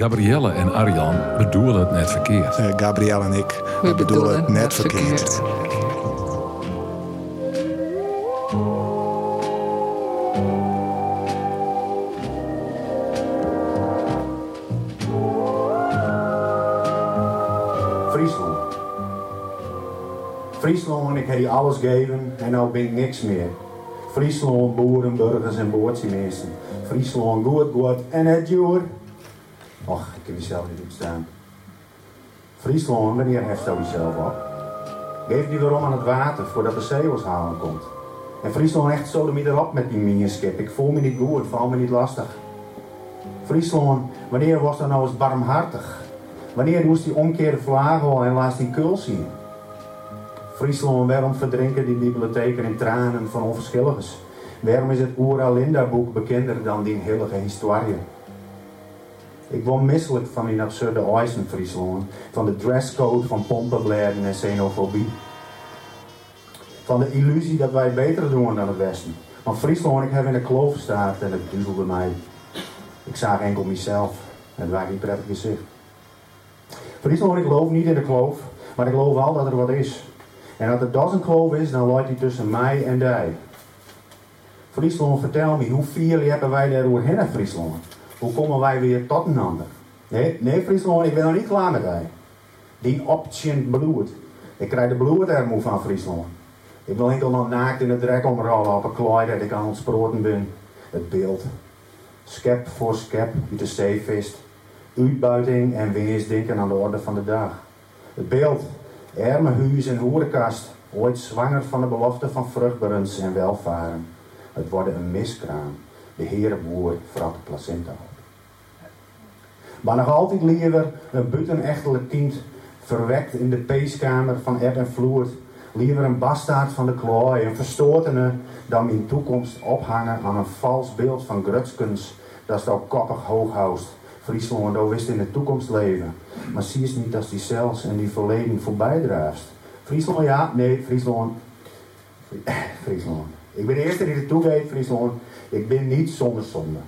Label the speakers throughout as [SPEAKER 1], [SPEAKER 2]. [SPEAKER 1] Gabrielle en Arjan bedoelen het net verkeerd.
[SPEAKER 2] Eh Gabriel en ik we bedoelen het net verkeerd.
[SPEAKER 3] Friesland. Friesland, ik heb je alles gegeven en nou ben ik niks meer. Friesland, boeren, burgers en boortjemeesten. Friesland, goed, goed en het joer. Och, ik heb mezelf niet opstaan. Friesland, wanneer heft dat jezelf op? Geef die weer om aan het water voordat de zeeuwers halen komt. En Friesland echt zo erop met die minskip. Ik voel me niet goed, val me niet lastig. Friesland, wanneer was dat nou eens barmhartig? Wanneer moest die omkeerde vlagel en laat die kul zien? Friesland, waarom verdrinken die bibliotheken in tranen van onverschilligers? Waarom is het Oera Linda boek bekender dan die heilige historie? Ik word misselijk van die absurde eisen, Friesland, van de dresscode van pompenbladen en xenofobie. Van de illusie dat wij beter doen dan het Westen. Want Friesland, ik heb in de kloof gestaan en het duizelde mij. Ik zag enkel mezelf. Het was niet prettig gezicht. Friesland, ik geloof niet in de kloof, maar ik geloof wel dat er wat is. En dat er dat een kloof is, dan loopt die tussen mij en die. Friesland, vertel me, hoe vier hebben wij daaroverheen in Friesland? Hoe komen wij weer tot een ander? Nee, nee Friesland, ik ben nog niet klaar met die. Die option bloed. Ik krijg de bloed er moe van Friesland. Ik wil enkel nog naakt in het drek omrollen op een klooi dat ik aan het sproten ben. Het beeld. Skep voor skep uit de zeevist. Uitbuiting en weersdenken aan de orde van de dag. Het beeld, arme huis en hoerenkast, ooit zwanger van de belofte van vruchtbarens en welvaren. Het worden een miskraam. De herenboer vrat de placenta op. Maar nog altijd liever een buitenechtelijk kind, verwekt in de peeskamer van eb en vloer. Liever een bastaard van de klooi, een verstoortene, dan in toekomst ophangen aan een vals beeld van grutskens dat zo koppig hoog houdt. Friesland dat wist in de toekomst leven, maar zie eens niet dat die zelfs en die verleden voorbij drijft. Friesland ja, nee, Friesland. Fri- Friesland. Ik ben de eerste die het toegeeft, Friesland. Ik ben niet zonder zonde.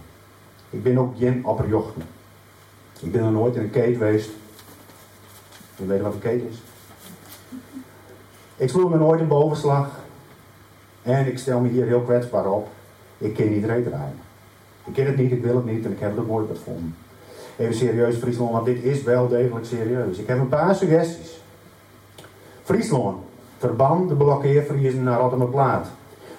[SPEAKER 3] Ik ben ook Jen Apperjochten. Ik ben nog nooit in een keet geweest. Je weet wat een keet is. Ik sloeg me nooit in bovenslag. En ik stel me hier heel kwetsbaar op. Ik ken niet rijden. Ik ken het niet, ik wil het niet en ik heb het ook nooit gevonden. Even serieus Friesland, want dit is wel degelijk serieus. Ik heb een paar suggesties. Friesland, verban de blokkeervriezen naar Rotterdam-Plaat.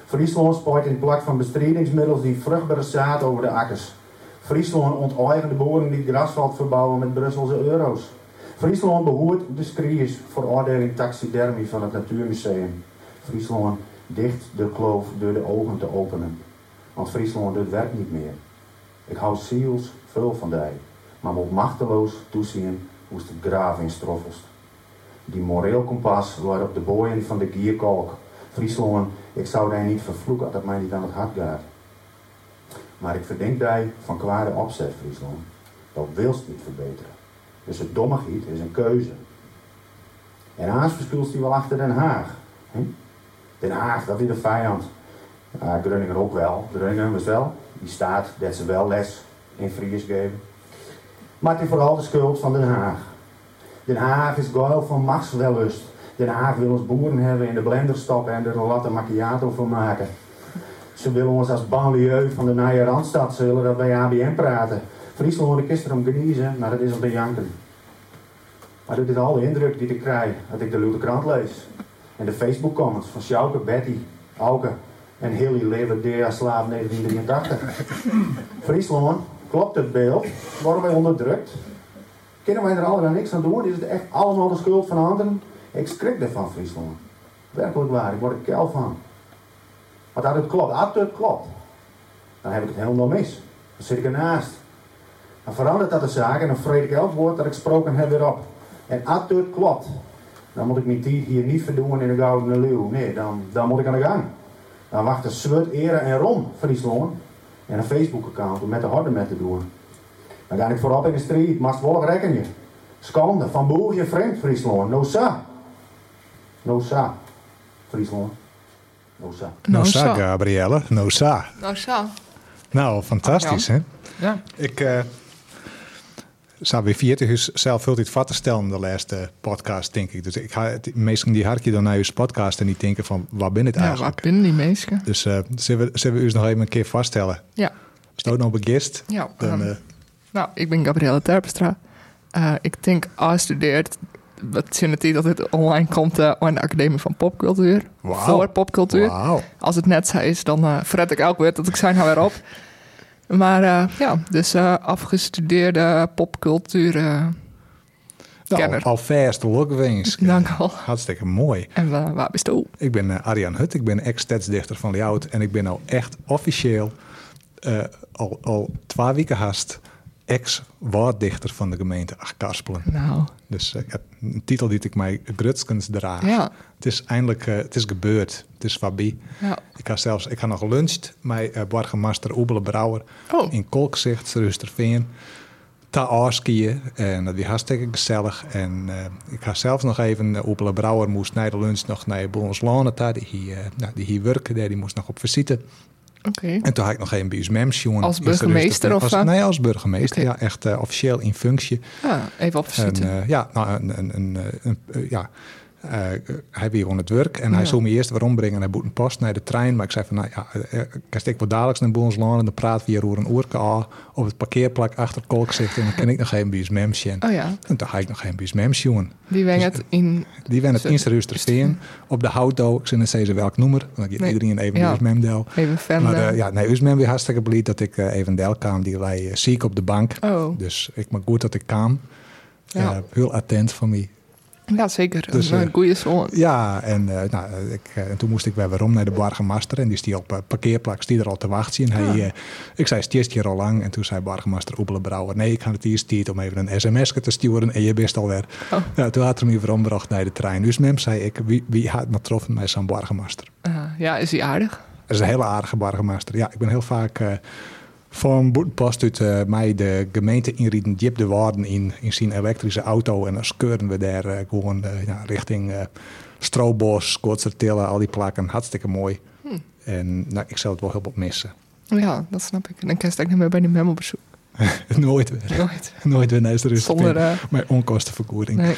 [SPEAKER 3] Friesland spuit in plak van bestrijdingsmiddels die vruchtbare zaad over de akkers. Friesland onteigent de boeren die het grasveld verbouwen met Brusselse euro's. Friesland behoort de scries veroordeling taxidermie van het Natuurmuseum. Friesland dicht de kloof door de ogen te openen. Want Friesland doet werk niet meer. Ik hou ziels veel van die, maar moet machteloos toezien hoe ze de graaf in stroffels. Die moreel kompas waarop de boeien van de gierkalk, Friesland, ik zou daar niet vervloeken dat het mij niet aan het hart gaat. Maar ik verdenk die van kwade opzet, Friesland. Dat wilst niet verbeteren. Dus het domme giet is een keuze. En Haas verschuilt die wel achter Den Haag. hè? Den Haag, dat is de vijand. Ja, Groningen ook wel. Groningen was wel. Die staat dat ze wel les in Fries geven. Maar het is vooral de schuld van Den Haag. Den Haag is goil van machtswellust. Den Haag wil ons boeren hebben in de blender stappen en er een latte macchiato van maken. Ze willen ons als banlieue van de Nije Randstad, ze willen dat wij ABM praten. Friesland hoorde ik gisteren om geniezen, maar dat is om te janken. Maar dit is al de indruk die ik krijg als ik de Lute krant lees. En de Facebook comments van Sjouke, Betty, Auke en Hilly Leverdea Slaaf 1983. Friesland, klopt het beeld? Worden wij onderdrukt? Kunnen wij er allemaal niks aan doen? Is het echt allemaal de schuld van anderen? Ik schrik ervan, Friesland. Werkelijk waar, ik word er kel van. Want dat het klopt, als het klopt, dan heb ik het helemaal mis. Dan zit ik ernaast. Dan verandert dat de zaak en dan vreet ik elk woord dat ik gesproken heb weer op. En als het klopt, dan moet ik mijn tijd hier niet verdoen in de Gouden Leeuw. Nee, dan, dan moet ik aan de gang. Dan wachten Swert, Ere en Ron, Friesland. En een Facebook-account om met de harde met te doen. Dan ga ik voorop in de street, maar volg rekken je. Schande, van boer je vreemd, Friesland. No sa. No sa. Friesland. No sa.
[SPEAKER 2] Nou sa,
[SPEAKER 4] zo.
[SPEAKER 2] Gabrielle. Nou sa.
[SPEAKER 4] Nou zo.
[SPEAKER 2] Nou, fantastisch, hè?
[SPEAKER 5] Ja.
[SPEAKER 2] Ik, eh, Sabi 40 is zelf veel dit vast te stellen de laatste podcast, denk ik. Dus ik ga het meesten die hartje dan naar uw podcast en die denken van waar ben het
[SPEAKER 4] Ja, wat
[SPEAKER 2] eigenlijk?
[SPEAKER 4] binnen die mensen?
[SPEAKER 2] Dus eh zullen, we, zullen we u nog even een keer vaststellen?
[SPEAKER 4] Ja.
[SPEAKER 2] Als het ook nog begist,
[SPEAKER 4] Ja,
[SPEAKER 2] dan
[SPEAKER 4] ehm,
[SPEAKER 2] eh,
[SPEAKER 4] Nou, ik ben Gabrielle Terpstra. Eh, ik denk afgestudeerd. Wat zin het dat het online komt eh, aan de Academie van Popcultuur.
[SPEAKER 2] Wauw.
[SPEAKER 4] Voor popcultuur.
[SPEAKER 2] wauw.
[SPEAKER 4] Als het net zo is, dan eh fret ik elk weer dat ik zijn haar weer op. Maar eh, ja, dus eh, afgestudeerde popcultuur. eh,
[SPEAKER 2] Nou,
[SPEAKER 4] Kenner.
[SPEAKER 2] alvast, lokwings.
[SPEAKER 4] dank al.
[SPEAKER 2] Hartstikke mooi.
[SPEAKER 4] En eh, waar bist u?
[SPEAKER 2] Ik ben eh, Arjan Hut, ik ben ex-stadsdichter van Ljout. En ik ben al echt officieel, eh, al, al twee weken haast, ex-waarddichter van de gemeente Achterspelen.
[SPEAKER 4] Nou,
[SPEAKER 2] Dus eh, ja, een titel die ik mij grutskens draag.
[SPEAKER 4] Ja.
[SPEAKER 2] Het is eindelijk, eh, het is gebeurd. Het is voorbij.
[SPEAKER 4] ja.
[SPEAKER 2] Ik had zelfs, ik had nog geluncht met eh Borgemaster Oebele Brouwer
[SPEAKER 4] Oh.
[SPEAKER 2] in Kolkzicht, Rusterveen. Ta afskiën en dat was hartstikke gezellig. En eh, ik had zelfs nog even, uh, Oebele Brouwer moest na de lunch nog naar Boenslane, ta, die, hier, eh, nou, die hier werken, die moest nog op visite.
[SPEAKER 4] Oké.
[SPEAKER 2] En toen had ik nog even bij ons mems jongen.
[SPEAKER 4] Als
[SPEAKER 2] in
[SPEAKER 4] burgemeester of
[SPEAKER 2] Als,
[SPEAKER 4] wat?
[SPEAKER 2] nee, als burgemeester,
[SPEAKER 4] Oké.
[SPEAKER 2] ja, echt eh, officieel in functie.
[SPEAKER 4] Ja, Ah, even op
[SPEAKER 2] En,
[SPEAKER 4] visite.
[SPEAKER 2] eh, ja, nou, een, een, een, eh, een, eh, ja. eh, hij weer aan het werk en hij
[SPEAKER 4] Ja.
[SPEAKER 2] zou me eerst waarom brengen naar Boetenpost, naar de trein. Maar ik zei van, nou ja, eh, eh, ik steek wel dadelijk naar Boenslaan en dan praat we hier over een oerke aan op het parkeerplak achter Kolkzicht en dan kan ik nog even bij ons memsje.
[SPEAKER 4] oh ja,
[SPEAKER 2] En toen ga ik nog even bij ons memsje. jongen.
[SPEAKER 4] die wengt het in.
[SPEAKER 2] Die werden het
[SPEAKER 4] Zo,
[SPEAKER 2] eerst rustig steen op de auto. Ik zei net steeds welk nummer, want ik
[SPEAKER 4] Nee.
[SPEAKER 2] iedereen even
[SPEAKER 4] Ja.
[SPEAKER 2] bij ons memdeel.
[SPEAKER 4] Even verder.
[SPEAKER 2] Maar eh, ja, nee, Usman weer hartstikke blij dat ik eh, even deel kwam. Die lei eh, ziek op de bank.
[SPEAKER 4] Oh,
[SPEAKER 2] Dus ik maak goed dat ik kwam.
[SPEAKER 4] Ja.
[SPEAKER 2] Eh, heel attent van mij.
[SPEAKER 4] ja, zeker.
[SPEAKER 2] Dus,
[SPEAKER 4] een
[SPEAKER 2] eh,
[SPEAKER 4] eh, goede zon.
[SPEAKER 2] Ja, en, eh, nou, eh, ik, eh, en toen moest ik weer waarom naar de Bargemaster. En die is die op eh, parkeerplak, die er al te wachten. En
[SPEAKER 4] Ah.
[SPEAKER 2] hij, eh, ik zei, het is hier al lang. En toen zei Bargemaster Oebele Brouwer, nee, ik ga het eerst tijd om even een sms te sturen. En je bent alweer.
[SPEAKER 4] Oh.
[SPEAKER 2] Nou, toen had hij hem weer omgebracht naar de trein. Dus mem zei ik, wie, wie had me getroffen met zo'n Bargemaster?
[SPEAKER 4] Ah, ja, is die aardig?
[SPEAKER 2] Dat is een hele aardige Bargemaster. Ja, ik ben heel vaak... eh, van Boetenpost uit eh, mij de gemeente inrieden, Jip de Waarden in, in zijn elektrische auto. En dan skeuren we daar eh, gewoon eh, ja, richting eh Stroobos, Tillen, al die plakken. Hartstikke mooi.
[SPEAKER 4] Hm.
[SPEAKER 2] En nou, ik zal het wel heel wat missen.
[SPEAKER 4] Ja, dat snap ik. En dan kan je het ook niet meer bij die memo bezoek.
[SPEAKER 2] Nooit weer.
[SPEAKER 4] Nooit.
[SPEAKER 2] Nooit weer naar de rust.
[SPEAKER 4] Zonder, eh,
[SPEAKER 2] Mijn onkostenvergoeding.
[SPEAKER 4] Nee.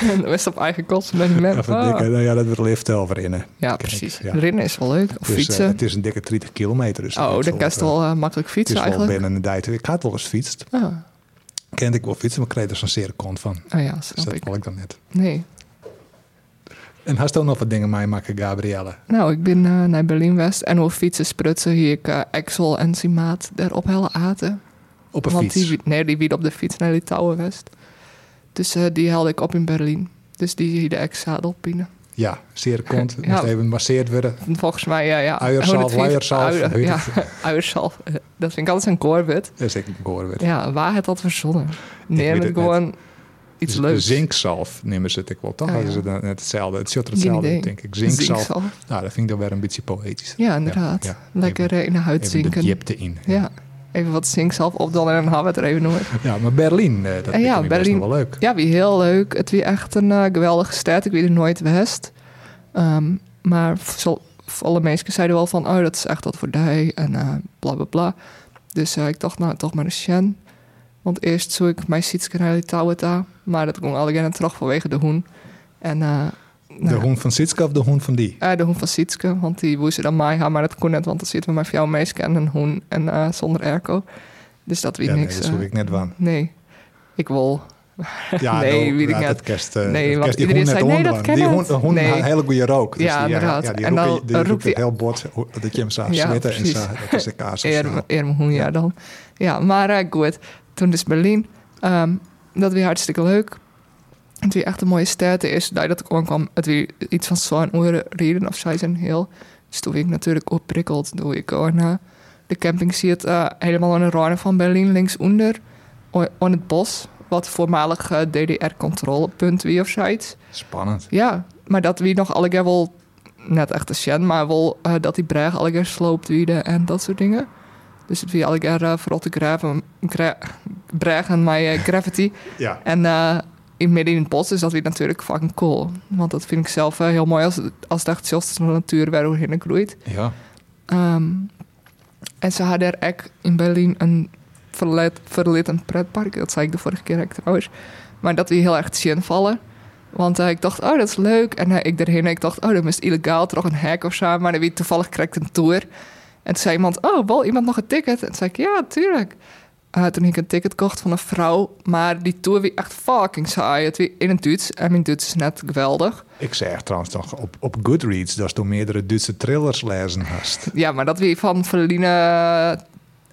[SPEAKER 4] En dan is het op eigen kosten bij die memo.
[SPEAKER 2] Ja, van dikke,
[SPEAKER 4] Ah.
[SPEAKER 2] nou ja, dat wordt lift over in. hè.
[SPEAKER 4] Ja,
[SPEAKER 2] Kijk,
[SPEAKER 4] precies.
[SPEAKER 2] ja.
[SPEAKER 4] Rennen is wel leuk. Of
[SPEAKER 2] Dus, eh,
[SPEAKER 4] fietsen.
[SPEAKER 2] het is een dikke 30 kilometer. Dus
[SPEAKER 4] oh,
[SPEAKER 2] dat is
[SPEAKER 4] dan kan je
[SPEAKER 2] wel, eh,
[SPEAKER 4] wel eh, makkelijk
[SPEAKER 2] Het is
[SPEAKER 4] fietsen
[SPEAKER 2] wel
[SPEAKER 4] eigenlijk.
[SPEAKER 2] binnen een tijd. Ik had wel eens fietst.
[SPEAKER 4] Ah,
[SPEAKER 2] Kende ik wel fietsen, maar ik kreeg er zo'n zeer kont van.
[SPEAKER 4] ah ja,
[SPEAKER 2] Dus
[SPEAKER 4] snap
[SPEAKER 2] dat
[SPEAKER 4] ik.
[SPEAKER 2] wil ik dan net.
[SPEAKER 4] Nee.
[SPEAKER 2] En hast ook nog wat dingen mee maken, Gabrielle?
[SPEAKER 4] Nou, ik ben eh, naar Berlijn-West en hoe fietsen sprutsen hier ik eh, Axel en zijn maat daar op hele aten.
[SPEAKER 2] Op een
[SPEAKER 4] Want
[SPEAKER 2] fiets.
[SPEAKER 4] die, wie- nee, die wiet op de fiets naar Litouwen-West. Dus eh, die haalde ik op in Berlijn. Dus die hier de ex-zadel pinnen.
[SPEAKER 2] Ja, zeer kont.
[SPEAKER 4] Ja.
[SPEAKER 2] Moest even masseerd worden.
[SPEAKER 4] Volgens mij, ja, ja.
[SPEAKER 2] Uiersalf,
[SPEAKER 4] 104
[SPEAKER 2] luiersalf,
[SPEAKER 4] uier-
[SPEAKER 2] hoe heet
[SPEAKER 4] Ja,
[SPEAKER 2] het?
[SPEAKER 4] uiersalf. Eh, Dat vind ik altijd een koorwit.
[SPEAKER 2] Dat is ik hoor weer.
[SPEAKER 4] Ja, waar het dat verzonnen?
[SPEAKER 2] weet
[SPEAKER 4] Neem
[SPEAKER 2] het Dus
[SPEAKER 4] het gewoon iets
[SPEAKER 2] Z-
[SPEAKER 4] leuks.
[SPEAKER 2] Zinkzalf nemen ze het ik wel. Toch
[SPEAKER 4] Ah,
[SPEAKER 2] hadden
[SPEAKER 4] ja.
[SPEAKER 2] ze dan net hetzelfde. Het zult er
[SPEAKER 4] Geen
[SPEAKER 2] hetzelfde,
[SPEAKER 4] idee.
[SPEAKER 2] uit, denk ik. Zinkzalf.
[SPEAKER 4] Zinkzalf.
[SPEAKER 2] Nou, dat vind ik dan weer een beetje poëtisch.
[SPEAKER 4] Ja, inderdaad.
[SPEAKER 2] ja.
[SPEAKER 4] Lekker eh, in de huid
[SPEAKER 2] Even de
[SPEAKER 4] zinken.
[SPEAKER 2] jipte in.
[SPEAKER 4] Ja, even wat zinkzalf opdalen en dan hebben we het er even nooit.
[SPEAKER 2] Ja, maar Berlijn, eh, dat
[SPEAKER 4] En
[SPEAKER 2] vind
[SPEAKER 4] Ah, ja,
[SPEAKER 2] ik best nog
[SPEAKER 4] Berlijn-
[SPEAKER 2] wel leuk.
[SPEAKER 4] Ja, wie heel leuk. Het wie echt een eh, geweldige stad. Ik weet er nooit west. Ehm, maar zo- alle mensen zeiden wel van, oh, dat is echt wat voor die en eh, bla bla bla. Dus eh, ik dacht, nou, toch maar een Shen. Want eerst zoek ik mijn Sietske naar Litouwen daar. Maar dat kon alle terug vanwege de hoen. En eh,
[SPEAKER 2] De
[SPEAKER 4] nou,
[SPEAKER 2] hond van Sitska of de hond van die?
[SPEAKER 4] eh, de hoen van Sietske, want die woest ze dan mij gaan, maar dat kon net, want dan zitten we maar jouw meisje en een hoen en eh, zonder airco. Dus dat weet
[SPEAKER 2] Ja, nee,
[SPEAKER 4] niks.
[SPEAKER 2] dat
[SPEAKER 4] eh,
[SPEAKER 2] zoek ik net van.
[SPEAKER 4] nee, ik wil
[SPEAKER 2] Ja,
[SPEAKER 4] Nee,
[SPEAKER 2] dan-
[SPEAKER 4] weet ik
[SPEAKER 2] ja,
[SPEAKER 4] net.
[SPEAKER 2] Dat kerst, eh,
[SPEAKER 4] Nee,
[SPEAKER 2] dat
[SPEAKER 4] want
[SPEAKER 2] kerst die
[SPEAKER 4] iedereen
[SPEAKER 2] hond net
[SPEAKER 4] zei, nee,
[SPEAKER 2] onder
[SPEAKER 4] dat
[SPEAKER 2] aan. Die
[SPEAKER 4] ken
[SPEAKER 2] hond,
[SPEAKER 4] het.
[SPEAKER 2] hond
[SPEAKER 4] Nee.
[SPEAKER 2] had een hele goede rook. Dus
[SPEAKER 4] Ja,
[SPEAKER 2] die,
[SPEAKER 4] inderdaad.
[SPEAKER 2] Ja, die
[SPEAKER 4] En dan
[SPEAKER 2] roepen- die
[SPEAKER 4] roept
[SPEAKER 2] roept het
[SPEAKER 4] hij-
[SPEAKER 2] heel bot. ho- Dat je hem zag
[SPEAKER 4] Ja,
[SPEAKER 2] zwitten en
[SPEAKER 4] precies.
[SPEAKER 2] zag, dat is de kaas. of zo.
[SPEAKER 4] Eer, Eermoen, ja dan. Ja, maar eh, goed. Toen dus Berlijn. Ehm, dat weer hartstikke leuk. Het weer echt een mooie stad. De eerste dag dat ik aankwam, het weer iets van zo'n uren reden of zij zijn heel. Dus toen werd ik natuurlijk opprikkeld door ik ook naar de camping zit eh, helemaal aan de randen van Berlijn, linksonder, o- aan het bos. Wat voormalig eh, DDR-controlepunt weer of zoiets.
[SPEAKER 2] Spannend.
[SPEAKER 4] Ja, maar dat wie nog allegaar wel net echt een shen, maar wel eh, dat die braag allegaar sloopt wieden en dat soort dingen. Dus het wie allegaar uh, verrotte graven, gra- bragen met eh, gravity.
[SPEAKER 2] Ja.
[SPEAKER 4] En eh, in midden in het bos is dat weer natuurlijk fucking cool. Want dat vind ik zelf eh, heel mooi als, als het echt zelfs de natuur waar we heen groeit.
[SPEAKER 2] Ja.
[SPEAKER 4] Ehm, en ze hadden er ook in Berlijn een verlet, verlit een pretpark. Dat zei ik de vorige keer ook trouwens. Maar dat we heel erg zien vallen. Want eh, ik dacht, oh, dat is leuk. En eh, ik erheen en ik dacht, oh, dat is illegaal. Toch een hek of zo. Maar dan wie toevallig krijgt een tour. En toen zei iemand, oh, wil iemand nog een ticket? En toen zei ik, ja, tuurlijk. Eh, toen ik een ticket kocht van een vrouw. Maar die tour wie echt fucking saai. Het wie in het Duits. En mijn Duits is net geweldig.
[SPEAKER 2] Ik zeg trouwens nog op, op Goodreads dat je door meerdere Duitse thrillers lezen hast.
[SPEAKER 4] Ja, maar dat wie van Verline eh,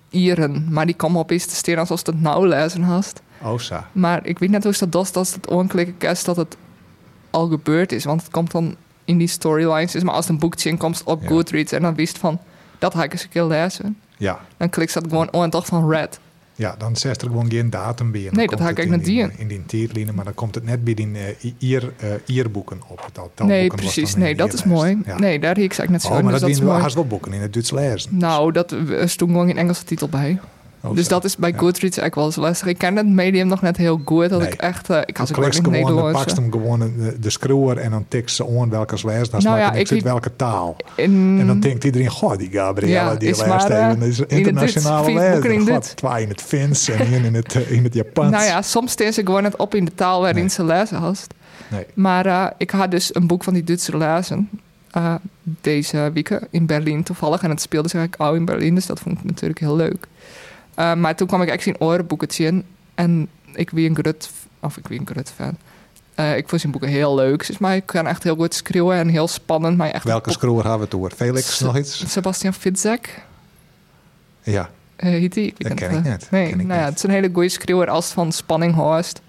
[SPEAKER 4] Ieren. Maar die kwam op eens te steren alsof het nou lezen had.
[SPEAKER 2] Osa.
[SPEAKER 4] Maar ik weet net hoe ze dat doet als het onklikken is dat het al gebeurd is. Want het komt dan in die storylines. Is maar als het een boekje inkomt op
[SPEAKER 2] Ja.
[SPEAKER 4] Goodreads en dan wist van dat ga ik eens een keer lezen.
[SPEAKER 2] Ja.
[SPEAKER 4] Dan klikt ze dat gewoon oh en dacht van red.
[SPEAKER 2] Ja, dan zegt er gewoon geen datum bij. en dan
[SPEAKER 4] Nee, dat
[SPEAKER 2] komt
[SPEAKER 4] haak
[SPEAKER 2] het
[SPEAKER 4] ik
[SPEAKER 2] in
[SPEAKER 4] met die in.
[SPEAKER 2] In die tierlijnen, maar dan komt het net bij die eh, i- ier, eh, ierboeken op. Dat, dat
[SPEAKER 4] nee,
[SPEAKER 2] boeken was
[SPEAKER 4] precies.
[SPEAKER 2] dan in
[SPEAKER 4] Nee,
[SPEAKER 2] de
[SPEAKER 4] dat is
[SPEAKER 2] ierlijst.
[SPEAKER 4] mooi.
[SPEAKER 2] Ja.
[SPEAKER 4] Nee, daar hie ik eigenlijk net zo.
[SPEAKER 2] oh,
[SPEAKER 4] in,
[SPEAKER 2] maar
[SPEAKER 4] dus
[SPEAKER 2] dat,
[SPEAKER 4] dat is
[SPEAKER 2] winnen we
[SPEAKER 4] mooi.
[SPEAKER 2] haast wel boeken in het Duits lezen.
[SPEAKER 4] Nou, dat eh, stond gewoon in Engelse titel bij.
[SPEAKER 2] Oh,
[SPEAKER 4] dus
[SPEAKER 2] zo.
[SPEAKER 4] dat is bij
[SPEAKER 2] Ja.
[SPEAKER 4] Goodreads eigenlijk wel eens lastig. Ik ken het medium nog net heel goed. Dat
[SPEAKER 2] Nee.
[SPEAKER 4] ik echt... eh, ik had ook
[SPEAKER 2] Dan
[SPEAKER 4] wel in
[SPEAKER 2] klikst
[SPEAKER 4] het
[SPEAKER 2] gewoon, dan
[SPEAKER 4] Nederlands.
[SPEAKER 2] pakst hem gewoon een, eh, de screwer en dan tikt ze aan welke ze leest. Dan
[SPEAKER 4] Nou
[SPEAKER 2] nou, ja,
[SPEAKER 4] ja,
[SPEAKER 2] ik
[SPEAKER 4] ik
[SPEAKER 2] zit
[SPEAKER 4] liep-
[SPEAKER 2] welke taal.
[SPEAKER 4] In-
[SPEAKER 2] En dan denkt iedereen, goh, die Gabriella
[SPEAKER 4] Ja,
[SPEAKER 2] die
[SPEAKER 4] is
[SPEAKER 2] leest
[SPEAKER 4] maar, eh,
[SPEAKER 2] even. Dat is
[SPEAKER 4] in het
[SPEAKER 2] internationale
[SPEAKER 4] Duits, vier boeken in
[SPEAKER 2] lezer.
[SPEAKER 4] het
[SPEAKER 2] God,
[SPEAKER 4] Duits.
[SPEAKER 2] Twee in het Fins en één in het, eh, in het Japans.
[SPEAKER 4] Nou ja, soms steen ze gewoon net op in de taal waarin
[SPEAKER 2] Nee.
[SPEAKER 4] ze lezen had.
[SPEAKER 2] Nee.
[SPEAKER 4] Maar eh, ik had dus een boek van die Duitse lezen. eh, deze week in Berlijn toevallig. En het speelde zich eigenlijk al in Berlijn. Dus dat vond ik natuurlijk heel leuk. Eh, maar toen kwam ik echt in orenboeketje in. En ik wie een grut... Of ik wie een grut fan. Eh, ik vond zijn boeken heel leuk. Dus, maar ik kan echt heel goed schreeuwen en heel spannend. Maar echt
[SPEAKER 2] Welke screwer hebben we het over? Felix
[SPEAKER 4] S-
[SPEAKER 2] nog iets?
[SPEAKER 4] Sebastian Fitzek.
[SPEAKER 2] Ja,
[SPEAKER 4] Eh, heet die? weet
[SPEAKER 2] Dat
[SPEAKER 4] niet
[SPEAKER 2] ken
[SPEAKER 4] of,
[SPEAKER 2] ik
[SPEAKER 4] eh,
[SPEAKER 2] net.
[SPEAKER 4] Nee,
[SPEAKER 2] Ken ik
[SPEAKER 4] nou ja,
[SPEAKER 2] net.
[SPEAKER 4] het is een hele goede schreeuwer als het van spanning hoort.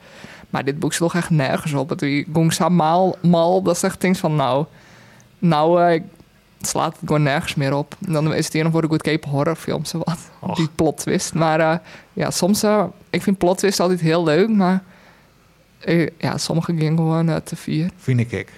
[SPEAKER 4] Maar dit boek sloeg echt nergens op. Het ging zo mal, mal, dat is echt things van nou, nou eh, ik- het slaat het gewoon nergens meer op. En dan is het hier nog voor de Good Cape horrorfilm, zo wat. Die plot twist. Maar eh, ja, soms, eh, ik vind plot twist altijd heel leuk, maar eh, ja, sommige gingen gewoon eh, te vier.
[SPEAKER 2] vind ik. ik.